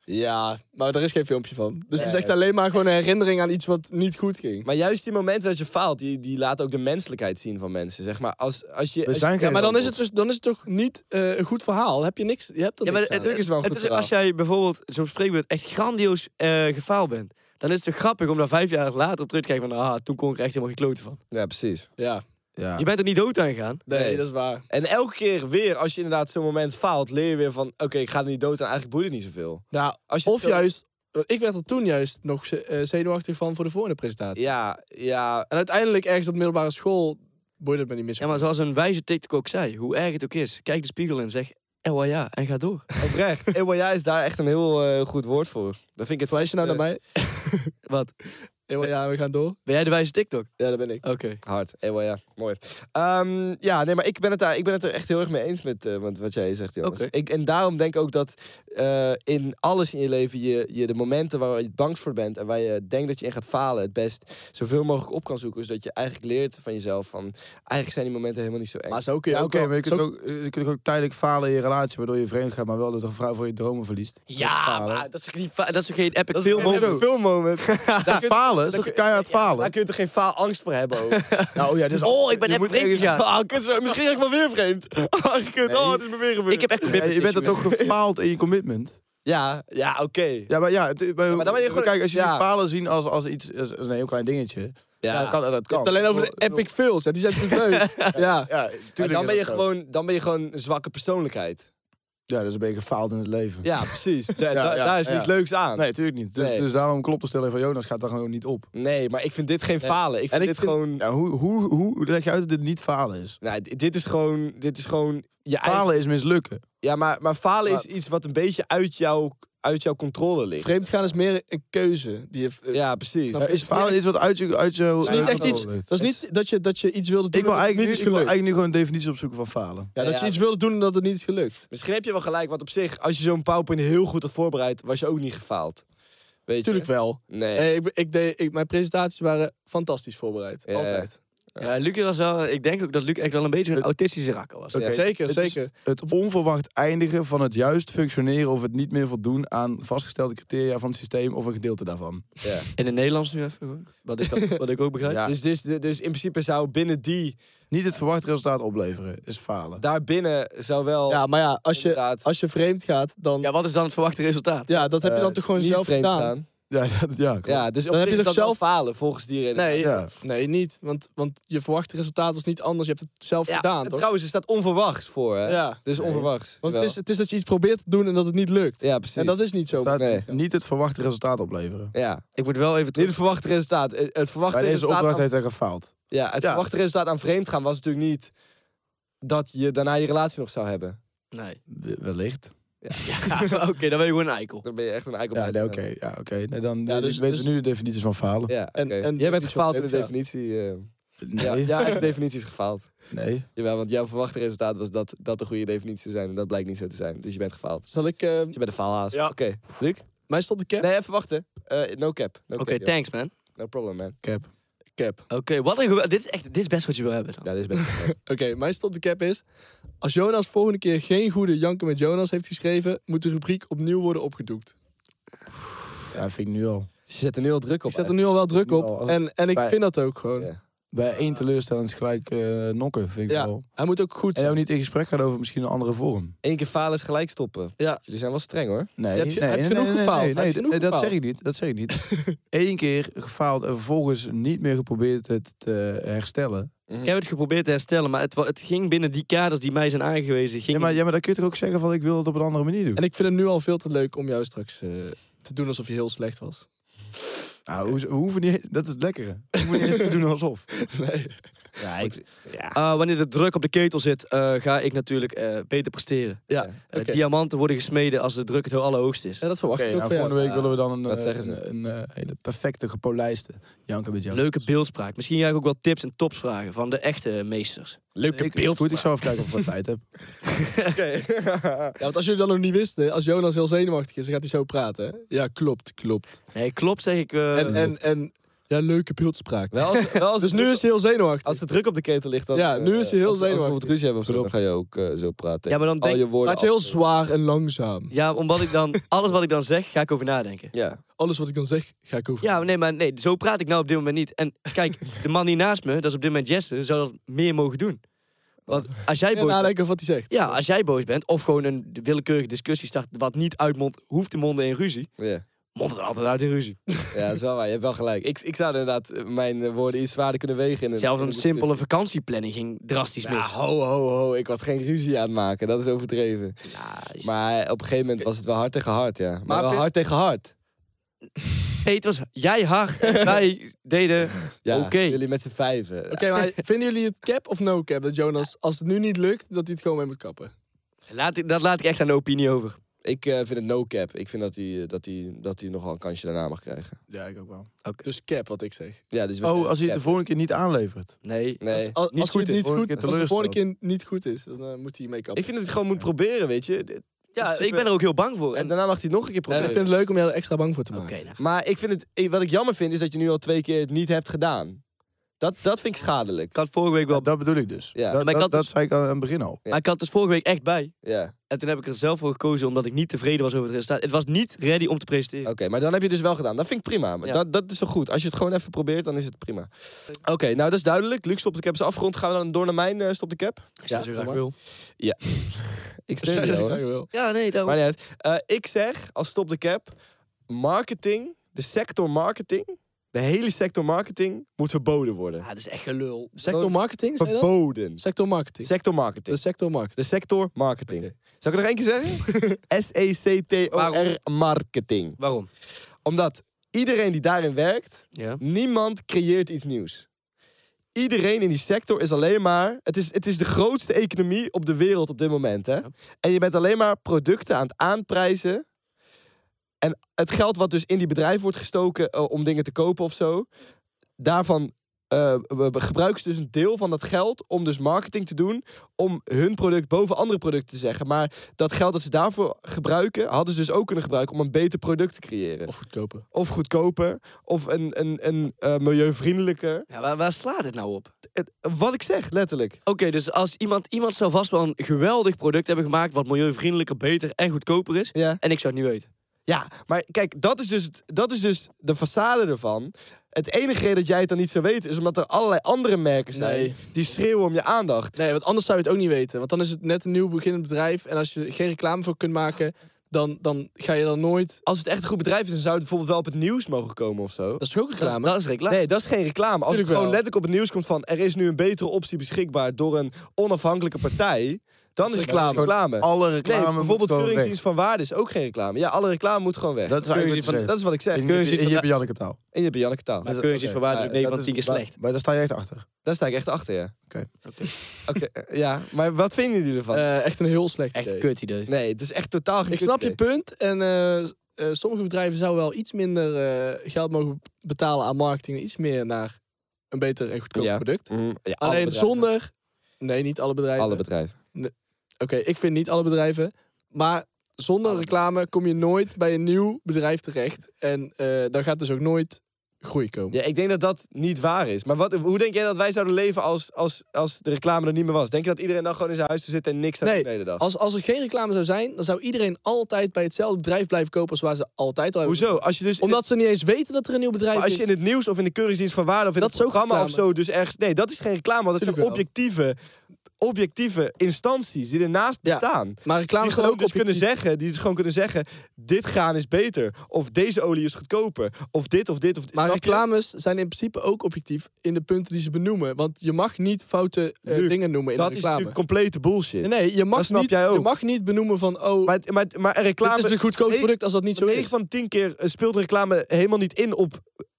Ja, maar er is geen filmpje van. Dus het is echt alleen maar gewoon een herinnering aan iets wat niet goed ging. Maar juist die momenten dat je faalt, die, die laten ook de menselijkheid zien van mensen. Zeg maar, als, als je. We als je- zijn geen Ja, maar dan is het, dus, dan is het toch niet eh, een goed verhaal? Heb je niks? Je hebt er Ja, maar niks aan. het, Natuurlijk is wel een het goed is, als jij bijvoorbeeld zo'n spreekbeurt echt grandioos eh gefaald bent, dan is het toch grappig om daar vijf jaar later op terug te kijken van, ah, toen kon ik er echt helemaal geen kloten van. Ja, precies. Ja, Ja. Je bent er niet dood aan gegaan. nee, Nee. dat is waar. En elke keer weer, als je inderdaad zo'n moment faalt, leer je weer van: oké, ik ga er niet dood en eigenlijk boeit het niet zoveel. Ja, Als je Nou, of zo- juist, eh, ik werd er toen juist nog ze- eh, zenuwachtig van voor de volgende presentatie. Ja, ja. En uiteindelijk ergens op middelbare school boeide het me niet meer zo. Ja, maar zoals een wijze TikTok ook zei, hoe erg het ook is, kijk de spiegel in, zeg oh ja en ga door. Oprecht. EYA is daar echt een heel eh, goed woord voor. Dat vind ik het. eh, Verwijs je nou naar mij? Wat? Eh, maar Ja, we gaan door. Ben jij de wijze TikTok? Ja, daar ben ik. Oké. Hard. EYA. Mooi. Ehm, ja, nee, maar ik ben, het daar, ik ben het er echt heel erg mee eens met eh, wat- wat jij zegt, Jonas. Oké. Ik, en daarom denk ik ook dat eh, in alles in je leven je, je de momenten waar je bang voor bent en waar je denkt dat je in gaat falen, het best zoveel mogelijk op kan zoeken. Zodat je eigenlijk leert van jezelf van eigenlijk zijn die momenten helemaal niet zo eng. Maar zo kun je Ja, ook oké, wel- maar je kunt, zo- ook, eh, je kunt ook tijdelijk falen in je relatie, waardoor je vreemd gaat, maar wel dat een vrouw voor je dromen verliest. Ja, maar dat is toch niet fa- dat is toch geen epic film? moment. hoor? Een filmmoment. Ja, falen? Is dan toch keihard Daar falen? kun je toch geen faalangst voor hebben ook. Nou oh ja, dit is Oh, ik ben je even moet vreemd ergens- gegaan. Ah, kut, zo- misschien ga ik wel weer vreemd. Ah, kut, Nee. oh, het is me weer gebeurd. Ik heb echt Ja, je bent er dat toch gefaald in je commitment? Ja, ja, oké. Ja, maar ja, het- bij, maar dan ben je gewoon- kijk, als je ja. die falen zien als, als iets, als, als een heel klein dingetje, ja. dat Nou, kan. Je Dat kan. hebt het alleen over de epic fails. Ja, die zijn natuurlijk leuk. Ja. Ja, Maar tuurlijk dan is ben, je dat zo. gewoon, dan ben je gewoon een zwakke persoonlijkheid. Ja, dat is een beetje gefaald in het leven. Ja, precies. Da- Ja, da- ja, daar is niks ja. leuks aan. Nee, natuurlijk niet. Dus, Nee. dus daarom klopt de stelling van Jonas gaat daar gewoon niet op. Nee, maar ik vind dit geen falen. Ik vind ik dit vind- gewoon... Ja, hoe, hoe, hoe leg je uit dat dit niet falen is? Nou, d- dit is gewoon... Dit is gewoon je eigen- Falen is mislukken. Ja, maar, maar falen is Maar- iets wat een beetje uit, jouw uit jouw controle ligt. Vreemdgaan is meer een keuze. Die je, eh, Ja, precies. Snap Ja, je? is falen iets wat uit je... Uit je is niet echt iets- dat is niet dat je, dat je iets wilde doen. Ik wil, dat het eigenlijk nu, niet ik is wil gelukt. eigenlijk nu gewoon een definitie opzoeken van falen. Ja, dat Ja, je ja. iets wilde doen en dat het niet is gelukt. Misschien heb je wel gelijk, want op zich, als je zo'n powerpoint heel goed had voorbereid, was je ook niet gefaald. Weet Natuurlijk je? wel. Nee. Eh, ik, ik deed, ik, mijn presentaties waren fantastisch voorbereid. Ja. Altijd. Ja, Luc was wel, ik denk ook dat Luc echt wel een beetje een autistische rakker was. Oké. Zeker, Het is- zeker. Het onverwacht eindigen van het juist functioneren of het niet meer voldoen aan vastgestelde criteria van het systeem of een gedeelte daarvan. Ja. In het Nederlands nu even, hoor. wat ik, dat- wat ik ook begrijp. Ja. Dus, dus, dus in principe zou binnen die, Niet het verwachte resultaat opleveren is falen. daarbinnen zou wel Ja, maar ja, als je, inderdaad als je vreemd gaat, dan... Ja, Ja, wat is dan het verwachte resultaat? dat heb je dan eh, toch gewoon niet zelf vreemd gedaan? gaan. Ja, dat, ja, klopt. Ja, dus op zich Dan heb je is toch dat wel zelf- falen volgens die reden. Nee, Ja. nee, niet. Want, want je verwachte resultaat was niet anders. Je hebt het zelf Ja, gedaan, en toch? trouwens, er staat onverwachts voor. Hè? Ja. Dus onverwachts. Want het wel. is, het is dat je iets probeert te doen en dat het niet lukt. Ja, precies. En dat is niet zo. Staat Nee. Niet het verwachte resultaat opleveren. Ja. Ik moet wel even Niet terug... het verwachte resultaat. Eh, Het het verwachte Bij deze resultaat opdracht aan- heeft hij gefaald. Ja, het Ja. verwachte resultaat aan vreemd gaan was natuurlijk niet dat je daarna je relatie nog zou hebben. Nee. We- Wellicht. Oké, dan ben je gewoon een eikel. Dan ben je echt een eikel. Ja, nee, oké. Ja, oké. Nee, dan Ja, dus, dus- weten dus- we nu de definities van falen. Ja, En- oké. en- jij bent iets gefaald in de wat vreemd, definitie. eh. Ja, Nee. ja, eigen definitie is gefaald. Nee. Jawel, want jouw verwachte resultaat was dat dat de goede definitie zou zijn. En dat blijkt niet zo te zijn. Dus je bent gefaald. Dus Zal ik... eh, je bent een faalhaas. Ja. Oké, Luc? mij stond de cap? Nee, even wachten. Eh, no cap. No Oké, cap, joh. thanks man. No problem, man. Cap. Cap. Oké, wat een gewel- dit is echt, dit is best wat je wil hebben. Dan. Ja, dit is best Oké, mijn stop de cap is... Als Jonas volgende keer geen goede Janken met Jonas heeft geschreven... moet de rubriek opnieuw worden opgedoekt. Ja, vind ik nu al. Ze zetten nu al druk op. Ik zet er nu al wel druk Nou, op. als- En, en ik bij- vind dat ook gewoon. Ja. Bij één teleurstelling is gelijk eh, nokken, vind ik Ja. wel. Hij moet ook goed En zijn. jou niet in gesprek gaan over misschien een andere vorm. Eén keer falen is gelijk stoppen. Ja. Jullie zijn wel streng, hoor. Nee, Hij heeft- hij nee, heeft nee, genoeg nee, nee, gefaald. nee, Hij heeft nee, genoeg dat gefaald. zeg ik niet. Dat zeg ik niet. Eén keer gefaald en vervolgens niet meer geprobeerd het te herstellen. Ik heb het geprobeerd te herstellen, maar het, wa- het ging binnen die kaders die mij zijn aangewezen. Ging Ja maar, ja, maar dan kun je toch ook zeggen van ik wil het op een andere manier doen. En ik vind het nu al veel te leuk om jou straks eh, te doen alsof je heel slecht was. Nou, hoe- we hoeven niet, dat is het lekkere. We hoeven niet eens te doen alsof. Nee. Ja, ik, Ah, wanneer de druk op de ketel zit, eh, ga ik natuurlijk eh, beter presteren. Ja, Eh, oké. Diamanten worden gesmeden als de druk het heel allerhoogst is. Ja, dat verwacht Oké, ik ook nou, van jou. volgende week willen we dan een, Wat eh, zeggen ze? een, een, eh, hele perfecte gepolijste Janken met jou. Leuke beeldspraak. Misschien ga ik ook wel tips en tops vragen van de echte eh, meesters. Leuke ik, is Goed, ik zou even kijken of ik wat tijd heb. Ja, want als jullie dat nog niet wisten, als Jonas heel zenuwachtig is, dan gaat hij zo praten. hè? Ja, klopt, klopt. Nee, klopt zeg ik. eh, en, en, en ja, leuke beeldspraak. Wel als, wel als Dus nu is hij heel zenuwachtig. Als de druk op de ketel ligt, dan... Ja, nu eh, is hij heel als, als we bijvoorbeeld zenuwachtig. ruzie hebben of zo, dan ga je ook eh, zo praten. Ja, maar dan Al denk- je woorden Laat je heel af- zwaar en langzaam. Ja, omdat ik dan, alles wat ik dan zeg, ga ik over nadenken. Ja. Alles wat ik dan zeg, ga ik over. Ja, nee, maar nee, zo praat ik nou op dit moment niet. En kijk, de man die naast me, dat is op dit moment Jesse, zou dat meer mogen doen. Want als jij en boos bent, nadenken over wat hij zegt. ja, als jij boos bent, of gewoon een willekeurige discussie start, wat niet uitmondt, hoeft te monden in ruzie, Ja. mondt het altijd uit in ruzie. ja, dat is wel waar. Je hebt wel gelijk. Ik, ik zou inderdaad eh, mijn eh, woorden iets zwaarder kunnen wegen. In Zelfs in een discussie. simpele vakantieplanning ging drastisch Ja, mis. ho, ho, ho. Ik was geen ruzie aan het maken. Dat is overdreven. Ja, Maar op een gegeven moment was het wel hard tegen hard, ja. Maar, Maar wel vind- hard tegen hard. Nee, het was jij hard en wij deden... Ja, Oké. jullie met z'n vijven. Oké, maar vinden jullie het cap of no cap dat Jonas, als het nu niet lukt, dat hij het gewoon mee moet kappen? Laat ik, dat laat ik echt aan de opinie over. Ik eh, vind het no cap. Ik vind dat hij eh, dat hij- dat hij nogal een kansje daarna mag krijgen. Ja, ik ook wel. Dus cap, wat ik zeg. Ja, dus we- Oh, als hij het cap. de volgende keer niet aanlevert. Nee. Nee. Als, niet als goed hij het is. niet Vorige goed, keer als het de vorige teleurgesteld. keer niet goed is, dan eh, moet hij mee kappen. Ik vind dat hij gewoon moet proberen, weet je. Ja, ik ben er ook heel bang voor. En En, daarna mag hij het nog een keer En Eh, ik proberen. vind het leuk om jou er extra bang voor te maken. Oké, nou. Maar ik vind het, ik- wat ik jammer vind, is dat je nu al twee keer het niet hebt gedaan. Dat, dat vind ik schadelijk. Ik had vorige week wel... Dat bedoel ik dus. Ja. Ja. Maar Dat, ik dat, had dat dus- zei ik aan aan het begin al. ja. Maar ik had dus vorige week echt bij. Ja, En toen heb ik er zelf voor gekozen omdat ik niet tevreden was over het resultaat. Het was niet ready om te presenteren. oké. Maar dan heb je dus wel gedaan. Dat vind ik prima. Maar Ja. Dat, dat is wel goed. Als je het gewoon even probeert, dan is het prima. Oké, nou dat is duidelijk. Luc, stop de cap is afgerond. Gaan we dan door naar mijn eh, stop de cap? Als je dat zo graag wil. Ik Ja, steun je dat wel, kan hoor. je wel. Ja, nee, daarom. Maar niet uit. Eh, ik zeg als stop de cap, marketing, de sector marketing De hele sector marketing moet verboden worden. Ja, dat is echt gelul. Sector marketing, zei je Ah, dat? Verboden. Sector marketing. Sector marketing. De sector marketing. De sector marketing. Oké. Zal ik het nog één keer zeggen? E S-E-C-T-O-R marketing. Waarom? Omdat iedereen die daarin werkt, Ja. niemand creëert iets nieuws. Iedereen in die sector is alleen maar. Het is, het is de grootste economie op de wereld op dit moment. Hè? En je bent alleen maar producten aan het aanprijzen. En het geld wat dus in die bedrijven wordt gestoken eh, om dingen te kopen of zo. Daarvan eh, we- we gebruiken ze dus een deel van dat geld om dus marketing te doen. Om hun product boven andere producten te zeggen. Maar dat geld dat ze daarvoor gebruiken, hadden ze dus ook kunnen gebruiken om een beter product te creëren Of goedkoper. of goedkoper of een, een, een eh, milieuvriendelijker. ja waar, waar slaat het nou op? Het- wat ik zeg, letterlijk. Oké, dus als iemand, iemand zou vast wel een geweldig product hebben gemaakt... wat milieuvriendelijker, beter en goedkoper is... Ja, en ik zou het niet weten. ja maar kijk, dat is, dus, het- dat is dus de façade ervan. Het enige reden dat jij het dan niet zou weten is omdat er allerlei andere merken zijn Nee. die schreeuwen om je aandacht. Nee, want anders zou je het ook niet weten. Want dan is het net een nieuw beginnend bedrijf. En als je geen reclame voor kunt maken, dan, dan ga je dan nooit... Als het echt een goed bedrijf is, dan zou het bijvoorbeeld wel op het nieuws mogen komen of zo. Dat is toch ook Dat is, reclame? dat is reclame. Nee, dat is geen reclame. Als het Tuurlijk gewoon wel. letterlijk op het nieuws komt van er is nu een betere optie beschikbaar door een onafhankelijke partij, dan is reclame. gewoon reclame. Alle Nee, reclame bijvoorbeeld keuringsdienst van waarde is ook geen reclame. Ja, alle reclame moet gewoon weg. Dat is eigenlijk wat je zegt. Dat is wat ik zeg. In Kun je je ziet in van- Jip en Janneke taal. En je hebt Janneke taal. Maar kun je iets Oké. van waarde Ja, is ook 9 Dat van 10 keer waar- slecht. Maar daar sta je echt achter. Daar sta ik echt achter, ja. Oké. Oké. Oké, eh, ja. Maar wat vinden jullie ervan? Eh, echt een heel slecht Echt idee. een kut idee. nee, het is echt totaal geen Ik goed snap je idee. punt. En eh, eh, sommige bedrijven zouden wel iets minder eh, geld mogen betalen aan marketing. en Iets meer naar een beter en goedkoper Ja. product. Mm, ja, alle Alleen bedrijven. zonder... Nee, niet alle bedrijven. Alle bedrijven. Oké, ik vind niet alle bedrijven. Maar zonder reclame kom je nooit bij een nieuw bedrijf terecht. En eh daar gaat dus ook nooit groei komen. Ja, ik denk dat dat niet waar is. Maar wat, hoe denk jij dat wij zouden leven als, als, als de reclame er niet meer was? Denk je dat iedereen dan gewoon in zijn huis zou zitten en niks zou Nee, doen de hele dag? Als, als er geen reclame zou zijn, dan zou iedereen altijd bij hetzelfde bedrijf blijven kopen als waar ze altijd al hebben. Hoezo? Als je dus... in Omdat ze niet eens weten dat er een nieuw het- bedrijf maar als je is. in het nieuws of in de keuringsdienst van waarde of in Dat het is ook programma of reclame. zo dus ergens... Nee, dat is geen reclame, want dat zijn Tuurlijk objectieve, objectieve instanties die ernaast Ja. bestaan. Maar reclame die is gewoon gewoon ook dus kunnen objectief. zeggen, die dus gewoon kunnen zeggen, dit gaan is beter, of deze olie is goedkoper, of dit of dit of dit. Maar Snap je? reclames zijn in principe ook objectief in de punten die ze benoemen. Want je mag niet foute eh, Luc, dingen noemen in dat de is reclame. natuurlijk complete bullshit. Nee, nee, je mag, snap niet, jij ook. je mag niet benoemen van, oh, Maar, maar, maar een reclame, dit is het goedkoopste Nee, product als dat niet zo 9 is. van de 10 keer eh, speelt reclame helemaal niet in op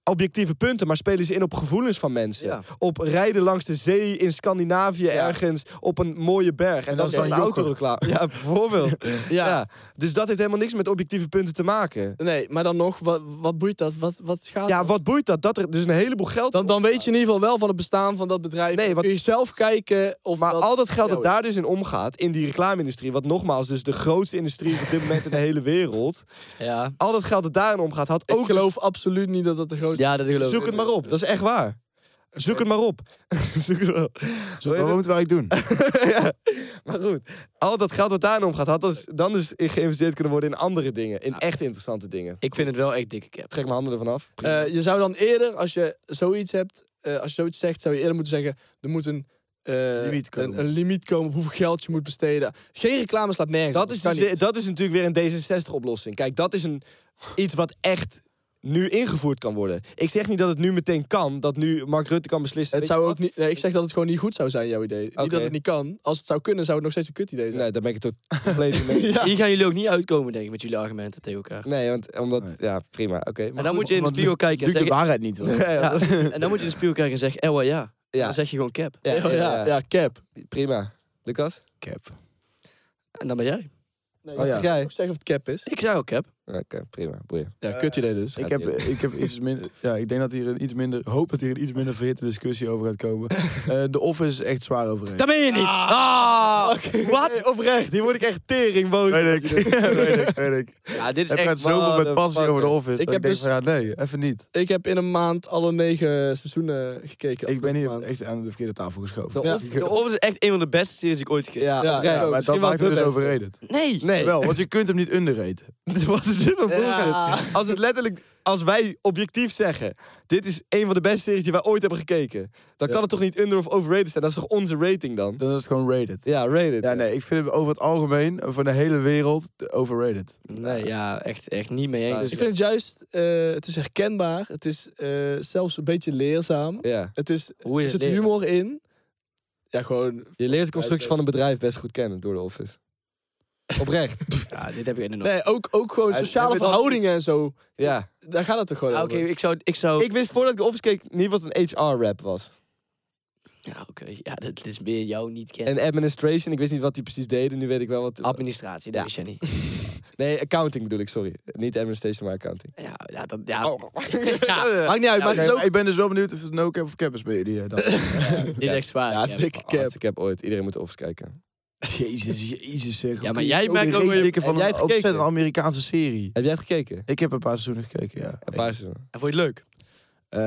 objectieve punten, maar spelen ze in op gevoelens van mensen. Ja. Op rijden langs de zee in Scandinavië ergens op een mooie berg. En, dat, dat is is dan dan yoghurt. autoreclame. Ja, bijvoorbeeld. ja. Ja. Dus dat heeft helemaal niks met objectieve punten te maken. Nee, maar dan nog, wat, wat boeit dat? Wat, wat gaat Ja, dat? wat boeit dat? Dat er dus een heleboel geld Dan, dan weet je in ieder geval wel van het bestaan van dat bedrijf. Nee, Nee, want- Kun je zelf kijken of Maar dat... al dat geld Ja, dat daar dus in omgaat, in die reclame-industrie, wat nogmaals dus de grootste industrie is op dit moment in de hele wereld, Ja, al dat geld dat daarin omgaat, had Ik ook. dus- geloof absoluut niet dat dat de grootste... ja dat geloof ik. zoek het maar op, dat is echt waar. Zoek het maar op. Zoek het maar op. Zo, wat moeten wij doen? Ja. Maar goed, al dat geld dat daarin omgaat, had dus- dan dus in geïnvesteerd kunnen worden in andere dingen, in echt interessante dingen. Ik vind het wel echt dikke cap. Trek mijn handen ervan af. Eh, je zou dan eerder, als je zoiets hebt, eh, als je zoiets zegt, zou je eerder moeten zeggen, er moet een... eh, Limiet komen. Een, een limiet komen op hoeveel geld je moet besteden. Geen reclame slaat nergens. op, Dat is, kan dus weer, niet. dat is natuurlijk weer een D66-oplossing. Kijk, dat is een, iets wat echt nu ingevoerd kan worden. Ik zeg niet dat het nu meteen kan, dat nu Mark Rutte kan beslissen. Het weet je zou wat? ook niet, nee, ik zeg dat het gewoon niet goed zou zijn, jouw idee. Oké. Niet dat het niet kan. Als het zou kunnen, zou het nog steeds een kut idee zijn. Nee, daar ben ik het ook compleet mee. Ja. Hier gaan jullie ook niet uitkomen, denk ik, met jullie argumenten tegen elkaar. Nee, want omdat... Nee. Ja, prima. Oké. maar En dan goed. moet je in de want spiegel kijken en Luc de zeggen... waarheid niet. hoor. Ja, dat- Ja, en dan moet je in de spiegel kijken en zeggen, Ewa ja. Ja. Dan zeg je gewoon cap. ja, Oh, ja, ja. ja, cap. Prima. Lucas? Cap. En dan ben jij. Nee, Oh, ja. ik ga ook zeggen of het cap is. Ik zei ook cap. Oké, prima. Boeien. Ja, kut idee dus. Ik heb, ik heb iets minder. Ja, ik denk dat hier een iets minder. Hoop dat hier een iets minder verhitte discussie over gaat komen. Eh, de office is echt zwaar overheen. Dat ben je niet! Ah! Wat? oprecht. Hier word ik echt tering boos. weet ik. weet ik. Weet ik. Ja, dit is Ik praat echt... zoveel met passie motherfucker. over de office. Ik Ik, ik heb denk dus- van ja, nee, even niet. Ik heb in een maand alle negen seizoenen gekeken. Ik ben afgelopen hier maand. echt aan de verkeerde tafel geschoven. De Ja. off- De Office is echt een van de beste series die ik ooit gekeken Ja, Ja, oprecht. ja, maar dat Misschien maakt wel hem de dus beste. overrated. heb. Nee! Nee. Wel, want je kunt hem niet underraten. Wat is is dit voor bullshit? Als het letterlijk, als wij objectief zeggen, dit is een van de beste series die wij ooit hebben gekeken, dan kan het toch niet under of overrated zijn? Dat is toch onze rating dan? Dan is het gewoon rated. Ja, rated. Ja, nee, ik vind hem over het algemeen, over de hele wereld, overrated. Nee, ja, echt, echt niet mee eens. Nou, Ik vind het juist, eh, het is herkenbaar. Het is eh, zelfs een beetje leerzaam. Ja. Het is, Hoe er je het zit leert. humor in. Ja, gewoon. Je leert de constructie van een bedrijf best goed kennen door de Office. Oprecht. Ja, dit heb ik inderdaad. Nee, ook, ook gewoon Hij- sociale hij weet- verhoudingen en zo. Ja. Daar gaat het toch gewoon Ah, Oké, over. ik zou... Ik zou... Ik wist voordat ik de Office keek niet wat een HR-rap was. Ja, oké. Ja, dat dat is meer jou niet kennen. En administration, ik wist niet wat die precies deden. Nu weet ik wel wat... Administratie, dat Ja. wist jij niet. Nee, accounting bedoel ik, sorry. Niet administration, maar accounting. Oh. Ja, ja, dat, ja. Ja. Maakt niet uit, maar Oké, het is ook. maar Ik ben dus wel benieuwd of het no cap of cap is bij jullie. eh, dan. dit is echt zwaar. Ja, Ja, dikke cap. ik heb ooit. Iedereen moet de Office kijken. Jezus, jezus zeg. Ja, maar jij merkt ook wel- dikke Heb van jij een het gekeken? ontzettend Amerikaanse serie. Heb jij het gekeken? Ik heb een paar seizoenen gekeken, ja. Een paar seizoenen. En vond je het leuk? Eh,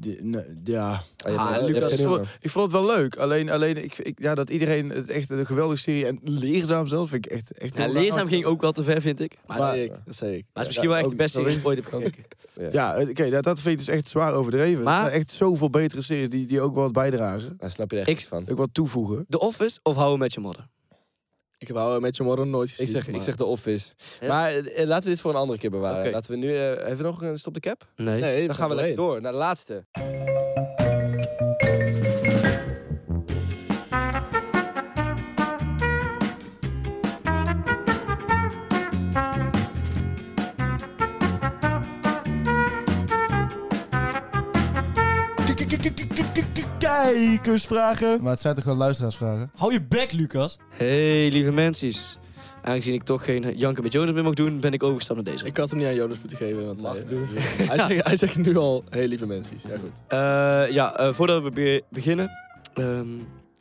d- nee, ja. Oh, je hebt- Ah, je hebt Lucas, geen voor- humor. Ik vond het wel leuk. Alleen, alleen ik, ik, ja, dat iedereen het echt een geweldige serie en leerzaam zelf vind ik echt, echt Ja, heel leerzaam raar. ging ook wel te ver, vind ik. Maar, Dat zei ik. Dat zei ik. maar het is misschien wel echt de ook- beste dat die ik ooit heb gekeken. Ja, het- oké, dat, dat vind ik dus echt zwaar overdreven. Maar- Maar echt zoveel betere series die, die ook wel wat bijdragen. Daar snap je er echt Ik- niks van. Ook wat toevoegen. The Office of How I Met Your Mother? Ik heb How I Met Your Mother nooit gezien. Ik zeg, ik maar- zeg de Office. Ja. Maar eh, laten we dit voor een andere keer bewaren. Oké. Laten we nu... eh, hebben we nog een stop de cap? Nee. Nee, Dan gaan we lekker door naar de laatste. Kijkersvragen. Maar het zijn toch gewoon luisteraarsvragen? Hou je bek, Lucas. Hey, lieve mensen. Aangezien ik toch geen Janke met Jonas meer mag doen, ben ik overgestapt naar deze. Ik had hem niet aan Jonas moeten geven. Want Mag hij, doen. hij, zegt, hij zegt nu al, hey lieve mensen. Ja goed. Eh, ja, eh, voordat we be- beginnen, ehm,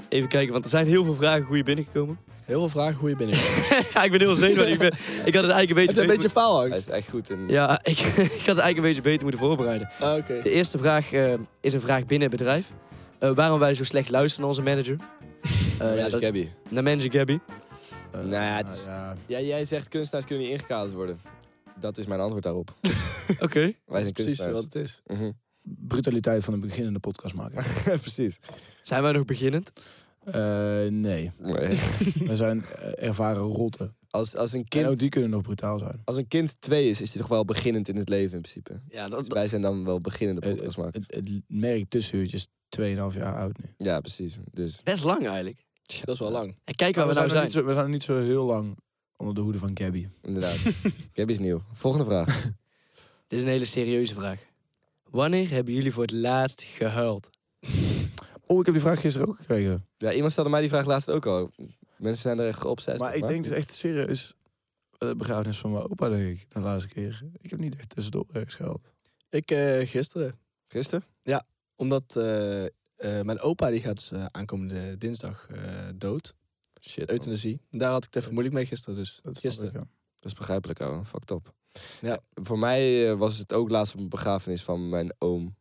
even kijken, want er zijn heel veel vragen hoe je binnengekomen. Heel veel vragen hoe je binnen. ja, ik ben heel zenuwachtig. ik, ben, ik had het eigenlijk een beetje... heb je een beetje Hij faalangst? is echt goed in... Ja, ik, ik had het eigenlijk een beetje beter moeten voorbereiden. Ah, Oké. De eerste vraag eh, is een vraag binnen het bedrijf. Eh, waarom wij zo slecht luisteren naar onze manager. Eh, Ja, ja, dat dat- is Gabby. naar manager Gabby. nou ja, het Ah, is- Ja, jij zegt kunstenaars kunnen niet ingekaderd worden. Dat is mijn antwoord daarop. Oké. Wij zijn precies kunstenaars. wat het is. Mhm. Brutaliteit van een beginnende podcastmaker. Precies. Zijn wij nog beginnend? Eh nee, we zijn eh, ervaren rotten. Als, als, een En ook kind, die kunnen nog brutaal zijn. als een kind twee is, is hij toch wel beginnend in het leven in principe. Ja, Dus dat, wij zijn dan wel beginnende Eh, podcastmaker. Het, het merk tussenuurtje is 2,5 jaar oud nu. Ja, precies. Dus best lang eigenlijk. Dat is wel lang. En kijk waar we, we, nou zijn nog zijn. niet zo, we zijn nog niet zo heel lang onder de hoede van Gabby. inderdaad. Gabby is nieuw. Volgende vraag. Dit is een hele serieuze vraag. Wanneer hebben jullie voor het laatst gehuild? Oh, ik heb die vraag gisteren ook gekregen. Ja, iemand stelde mij die vraag laatst ook al. Mensen zijn er echt geobsessed. Maar op, ik hè? denk dus echt serieus. eh, De begrafenis van mijn opa, denk ik, de laatste keer. Ik heb niet echt tussendoor ergens geld. Ik eh, gisteren. Gisteren? Omdat eh, eh, mijn opa die gaat dus, eh, aankomende dinsdag eh, dood. Shit. man. Euthanasie. Daar had ik het even moeilijk mee gisteren. Dus Dat snap gisteren. ik, ja. Dat is begrijpelijk, ouwe. Fuck top. Ja. Voor mij eh, was het ook laatst op een begrafenis van mijn oom.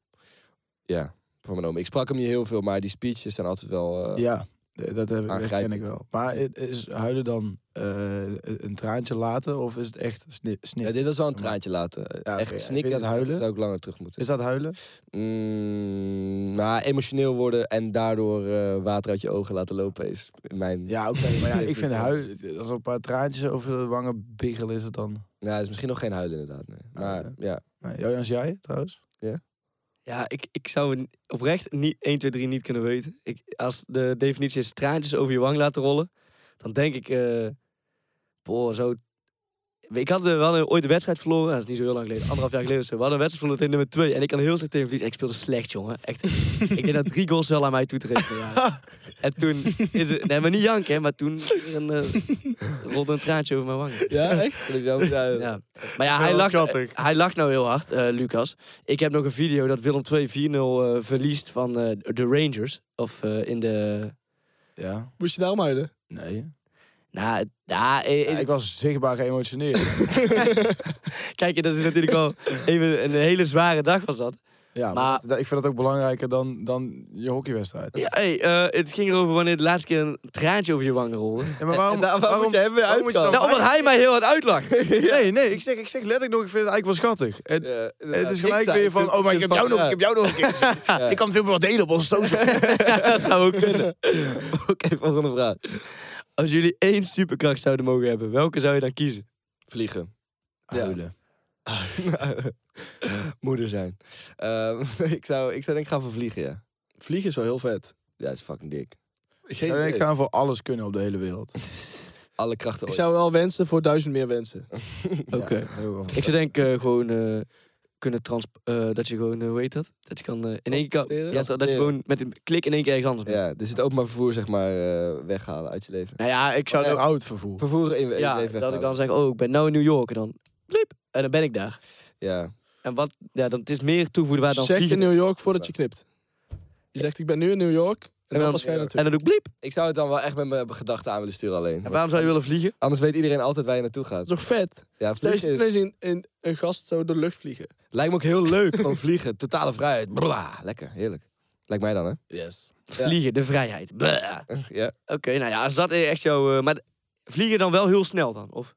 Ja, van mijn oom. Ik sprak hem niet heel veel, maar die speeches zijn altijd wel... eh, Ja, d- dat heb ik, dat ken ik Aangrijpend. wel. Maar het is huilen dan eh, een traantje laten of is het echt sni Ja, snikken? dit was wel een Ja, traantje laten. Eh, oké. Echt En snikken. vind je dat huilen? Zou ik langer terug moeten. Is dat huilen? Mm, nou, emotioneel worden en daardoor eh, water uit je ogen laten lopen is mijn... Ja, oké. maar ja, ik Dit vind is- huilen, eh, als er een paar traantjes over de wangen biggelen, is het dan... Nou, dat is misschien nog geen huilen inderdaad. Nee. Maar Ah, oké. ja, Nee, Jonas, jij trouwens? Ja, ik, ik zou het oprecht niet 1, 2, 3 niet kunnen weten. Ik, als de definitie is traantjes over je wang laten rollen, dan denk ik, eh boah, zo. Ik had eh, wel een- ooit een wedstrijd verloren, dat is niet zo heel lang geleden, anderhalf jaar geleden. of zo. We hadden een wedstrijd verloren tegen nummer 2 en ik kan heel slecht tegen verliezen. Ik speelde slecht, jongen. Echt. ik denk dat drie goals wel aan mij toe te rekenen waren. En toen is het, nee, maar niet janken, hè, maar toen weer een, eh, rolde een traantje over mijn wangen. Ja, echt? vind ik wel ja. Ja. Maar ja, hij wel lacht, schattig. hij lacht nou heel hard, eh, Lucas. Ik heb nog een video dat Willem 2 4-0 eh, verliest van eh, de Rangers. Of eh, in de... Ja. Moest je nou daarom huilen? Nee. Nou, ja, eh, Ja, eh, ik was zichtbaar geëmotioneerd. kijk, dat is natuurlijk wel even een hele zware dag was dat. Ja, maar, Maar- dat- ik vind dat ook belangrijker dan, dan je hockeywedstrijd. Ja, hey, eh, het ging erover wanneer de laatste keer een traantje over je wangen rolde. Ja, maar waarom, En daar- waarom moet je hem weer waarom moet je dan- uitkomen? Nou, omdat hij mij heel hard uitlacht. Nee, nee, ik zeg, ik zeg letterlijk nog, ik vind het eigenlijk wel schattig. En, Ja, het inderdaad. is Ik gelijk zei, weer van, toen- oh, maar ik toen heb van- jou nog, ja. ik heb jou nog een keer gezien. Ik kan veel meer wat delen op onze social. dat zou ook kunnen. Oké, volgende vraag. Als jullie één superkracht zouden mogen hebben, welke zou je dan kiezen? Vliegen. Ja. Huilen. Moeder zijn. Ehm, ik, zou, ik zou denk ik gaan voor vliegen, ja. Vliegen is wel heel vet. Ja, is fucking dik. Geen Ja, idee. ik ik, ga voor alles kunnen op de hele wereld. Alle krachten ooit. zou wel wensen voor duizend meer wensen. Oké. Ja, heel wel. Ik zou denk eh, gewoon eh, kunnen trans... eh, dat je gewoon, eh, hoe heet dat? Dat je kan eh, in één keer... Transporteren? Ja, dat je gewoon met een klik in één keer ergens anders bent. Ja, dus het openbaar vervoer zeg maar eh, weghalen uit je leven. Nou ja, ik zou Heel dan- oud vervoer. Vervoer in in je leven ja, dat ik weghalen. dan zeg, oh, ik ben nou in New York. En dan, bliep, en dan ben ik daar. Ja. En wat, ja, dan, het is meer toevoegen waar dan zeg je vliegen. New York voordat je knipt. Je zegt, ik ben nu in New York. En, dan- dan was jij naartoe. En dan doe ik bliep. Ik zou het dan wel echt met mijn gedachten aan willen sturen alleen. En waarom zou je willen vliegen? Anders weet iedereen altijd waar je naartoe Dat gaat. is toch vet? Ja, Stel je vliegen ineens in, in een gast zo door de lucht vliegen. lijkt me ook heel leuk. Gewoon vliegen. Totale vrijheid. Bla, lekker. Heerlijk. Lijkt mij dan, hè? Yes. Ja. Vliegen, de vrijheid. Blah. Oké, Ja. nou ja, als dat echt jouw... eh, maar d- vlieg je dan wel heel snel dan? Of,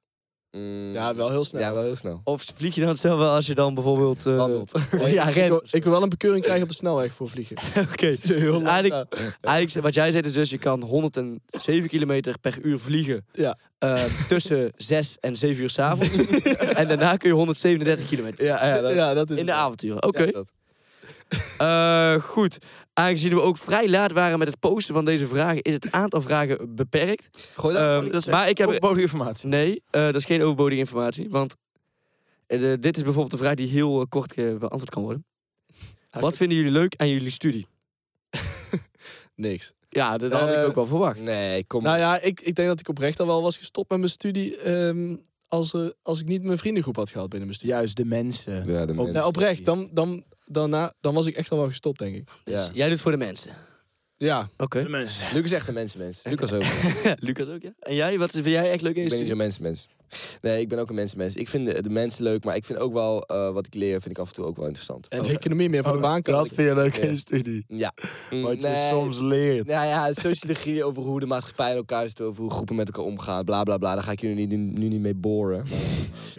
Mm, Ja, wel heel snel. Ja, wel heel snel. of vlieg je dan hetzelfde als je dan bijvoorbeeld... eh, Wandelt. Nee, ja, ik, ren. wil, ik wil wel een bekeuring krijgen op de snelweg voor vliegen. Oké. Dus eigenlijk, eigenlijk, wat jij zegt is dus, je kan 107 kilometer per uur vliegen. Ja. eh, tussen 6 en 7 uur s'avonds. en daarna kun je 137 kilometer. Ja, ja, dat- ja, dat is In de het. avonturen. Oké. ja, dat. Eh, goed. Aangezien we ook vrij laat waren met het posten van deze vragen, is het aantal vragen beperkt. Oh, Gooi dat. Ehm, maar ik heb. Overbodige informatie. Nee, eh, dat is geen overbodige informatie. Want eh, de- dit is bijvoorbeeld een vraag die heel eh, kort eh, beantwoord kan worden. Wat vinden jullie leuk aan jullie studie? Niks. Ja, dat had Eh, ik ook wel verwacht. Nee, kom. Nou ja, ik, ik denk dat ik oprecht al wel was gestopt met mijn studie. ehm, als, er, als ik niet mijn vriendengroep had gehad binnen mijn studie. Eh, Juist de mensen. ja, de mensen. Nou, oprecht. Dan, dan, daarna, dan was ik echt al wel gestopt, denk ik. Dus Ja. jij doet het voor de mensen. Ja, Oké. De mensen. Lucas is echt een mensenmens. Lucas ook. Lucas ook, ja? En jij, wat vind jij echt leuk in je Ik ben niet studie? zo'n mensenmens. Nee, ik ben ook een mensenmens. Ik vind de, de mensen leuk, maar ik vind ook wel eh, wat ik leer, vind ik af en toe ook wel interessant. en de economie meer voor de baan Oh, dat vind je leuk in Ja. je studie. Ja. Mm, Wat je nee. soms leert. Nou ja, sociologie over hoe de maatschappij in elkaar zit, over hoe groepen met elkaar omgaan, bla bla bla. Daar ga ik jullie nu, nu niet mee boren. Maar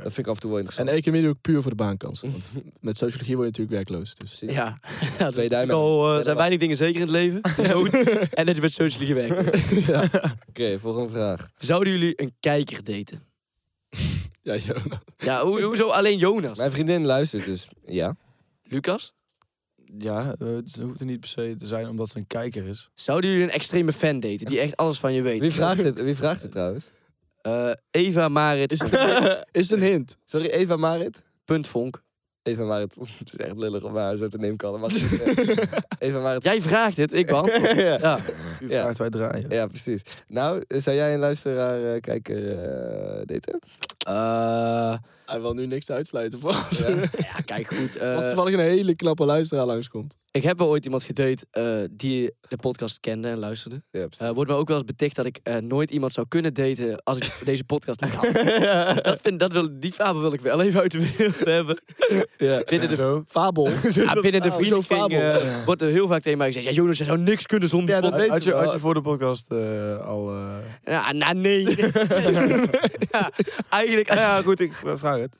Dat vind ik af en toe wel En interessant. economie doe ik puur voor de baankans. Want met sociologie word je natuurlijk werkloos. Dus. Precies. Ja, ja er Twee duimen. eh, zijn weinig dingen zeker in het leven. Dood. en dat je met sociologie werkt. Oké, volgende vraag. Zouden jullie een kijker daten? Ja, Jonas. Ja, hoe- hoezo alleen Jonas? Mijn vriendin luistert dus. Ja. Lucas? Ja, eh, het hoeft er niet per se te zijn omdat ze een kijker is. Zouden jullie een extreme fan daten die echt alles van je weet? Wie vraagt dit, wie vraagt dit trouwens? Eh, Eva Marit. Is het, is het een hint? Sorry, Eva Marit? Punt Vonk. Eva Marit, het is echt lullig om haar zo te nemen kan. Maar goed, eh, Eva Marit. Jij vraagt het, ik beantwoord. ja. Ja. U Ja. vraagt, wij draaien. Ja, precies. Nou, eh, zou jij een luisteraar, eh, kijker, eh, daten? Eh, Hij wil nu niks uitsluiten. Voor als, Ja. ja, kijk goed. eh, als toevallig een hele knappe luisteraar langskomt. ik heb wel ooit iemand gedate eh, die de podcast kende en luisterde. Ja, precies. Eh, wordt me ook wel eens beticht dat ik eh, nooit iemand zou kunnen daten als ik deze podcast niet had. dat vind, dat wil, die fabel wil ik wel even uit de wereld hebben. Binnen de, Zo. Fabel. ja, binnen de Ah, zo'n vriendenkring fabel. eh, wordt er heel vaak tegen mij gezegd... Ja, Jonas, jij zou niks kunnen zonder Ja, die dat podcast. weten Had, had je, we had wel. je voor de podcast eh, al... eh, Ja, nou, nee. ja, eigenlijk... Nou Als, ja, goed, ik v- vraag het.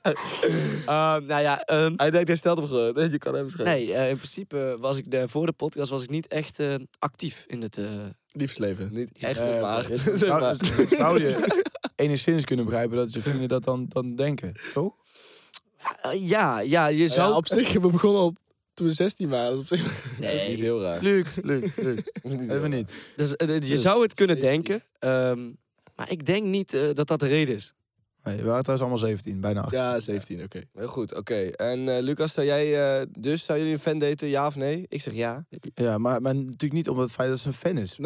Ehm, nou ja, ehm, Hij denkt, hij stelt hem gewoon. Dat je kan hem schrijven. nee, eh, in principe was ik de, voor de podcast was ik niet echt eh, actief in het... eh, Liefdesleven. Niet echt Eh, maar. het- Zeg maar. zou, zou je enigszins kunnen begrijpen dat je vrienden dat dan, dan denken, toch? eh, ja, ja, je zou... Ja, op zich, we begonnen op, toen we 16 waren. Dus op zich Dat is niet heel raar. Luc, Luc, Luc. Dat is niet heel Even raar. niet. dus, eh, je zou het kunnen denken, ehm, maar ik denk niet eh, dat dat de reden is. Nee, we waren trouwens allemaal 17, bijna 18. Ja, 17, oké. Heel goed, oké. En eh, Lucas, zou jij eh, dus, zou jullie een fan daten, ja of nee? Ik zeg ja. Ja, maar, maar natuurlijk niet omdat het feit dat ze een fan is.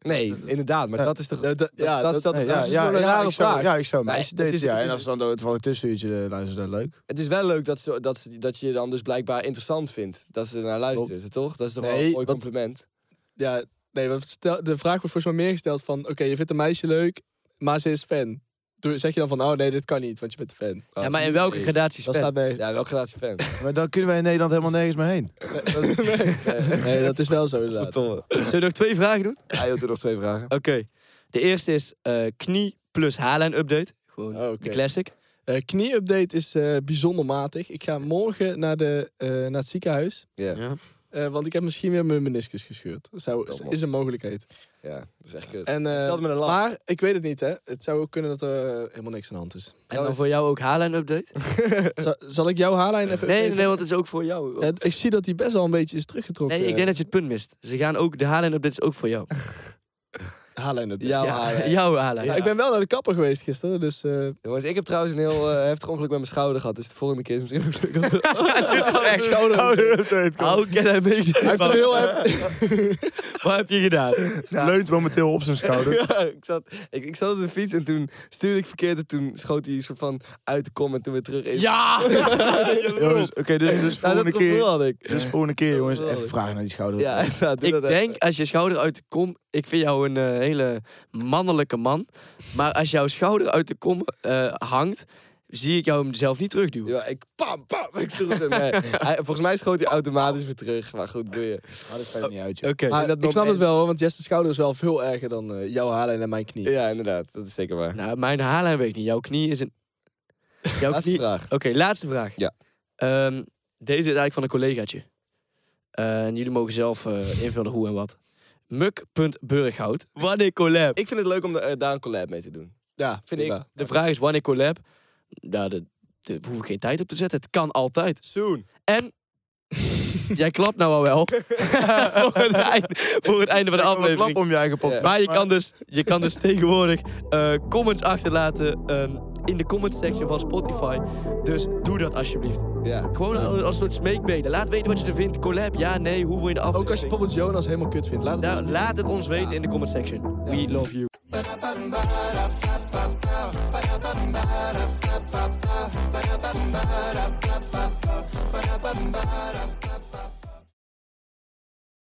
Nee, inderdaad, maar Ja. dat is toch... Ja, dat- ja, dat, dat- is dat, Nee, dat is gewoon een rare ik vraag. zou, ja, ik zou Nee, mensen het daten. is- ja, het en is- als ze dan door het toevallig tussenuurtje eh, luisteren, dan leuk. Het is wel leuk dat, ze, dat, ze, dat je je dan dus blijkbaar interessant vindt. Dat ze ernaar luistert, toch? Dat is toch wel een Nee, mooi want- compliment. Ja, nee, want stel- de vraag wordt volgens mij meer gesteld van... Oké, je vindt een meisje leuk, maar ze is fan. doe- zeg je dan van, oh nee, dit kan niet, want je bent een fan. Ja, maar in welke Nee. gradaties Dat fan? staat bij... Ja, welke relatie fan? Maar dan kunnen wij in Nederland helemaal nergens meer heen. Nee, dat is wel zo inderdaad. Verdomme. Zullen we nog twee vragen doen? Hij had er nog twee vragen. Oké. De eerste is eh, knie plus haarlijn update. Gewoon Oh, de oké. classic. Eh, Knie-update is eh, bijzonder matig. Ik ga morgen naar, de, eh, naar het ziekenhuis. Ja. Ja. Eh, want ik heb misschien weer mijn meniscus gescheurd. Dat zou, Verdomme. is een mogelijkheid. Ja, dat is echt kut. En, eh, Dat met een lach. maar ik weet het niet, hè. Het zou ook kunnen dat er eh, helemaal niks aan de hand is. En dan voor jou ook haarlijn update? Zal, zal ik jouw haarlijn even... Nee, updaten? nee, want het is ook voor jou. Eh, ik zie dat eh, die best wel een beetje is teruggetrokken. Nee, ik denk dat je het punt mist. Ze gaan ook, de haarlijn update is ook voor jou. Haarlijn update. Jouw Ja, haar, hè. Jouw haarlijn. Nou, ik ben wel naar de kapper geweest gisteren, dus... eh, eh, Jongens, ik heb trouwens een heel eh, heftig ongeluk met mijn schouder gehad. Dus de volgende keer is misschien ook leuk. als- Het is wel echt. How can I make hij heeft een that? heel heft- Wat heb je gedaan? Leunt momenteel op zijn schouder. Ja, ik, zat, ik, ik zat op de fiets en toen stuurde ik verkeerd en toen schoot hij soort van uit de kom en toen weer terug. in. Ja! Jongens, Oké, dus, dus nou, dat volgende gevoel keer. had ik. Dus volgende keer, jongens, gevoel had even ik. vragen naar die schouder. Ja, inderdaad, doe Ik dat even. denk, als je schouder uit de kom... Ik vind jou een eh, hele mannelijke man. Maar als jouw schouder uit de kom eh, hangt... zie ik jou hem zelf niet terugduwen. Ja, ik pam, pam, ik stuur het hem. Nee, hij- volgens mij schoot hij automatisch weer terug. Maar goed, boeien. Maar dat fijn niet uit, joh. Oké. Maar dat ik snap moment- het wel, hoor, want Jesper's schouder is wel veel erger dan eh, jouw haarlijn en mijn knie. Ja, inderdaad, dat is zeker waar. Nou, mijn haarlijn weet ik niet. Jouw knie is een... Jouw Laatste knie... vraag. Oké, laatste vraag. Ja. Ehm, deze is eigenlijk van een collegaatje. Eh, en jullie mogen zelf eh, invullen hoe en wat. Muk.burghout. Wanneer collab? Ik vind het leuk om de- eh, daar een collab mee te doen. Ja, Vind ik. prima. De vraag is wanneer collab? Daar de, de, hoef ik geen tijd op te zetten. Het kan altijd. Soon. En jij klapt nou al wel. voor, het einde, voor het einde van de Een klap aflevering. om je eigen podcast. Maar je kan dus, je kan dus tegenwoordig eh, comments achterlaten ehm, in de comment section van Spotify. Dus doe dat alsjeblieft. Ja. Gewoon als, als soort smeekbeden. Laat weten wat je ervan vindt. Collab, ja, nee, hoeveel in de aflevering. Ook als je bijvoorbeeld Jonas helemaal kut vindt, laat het Nou, ons laat het ons weten in de comment section. We love you.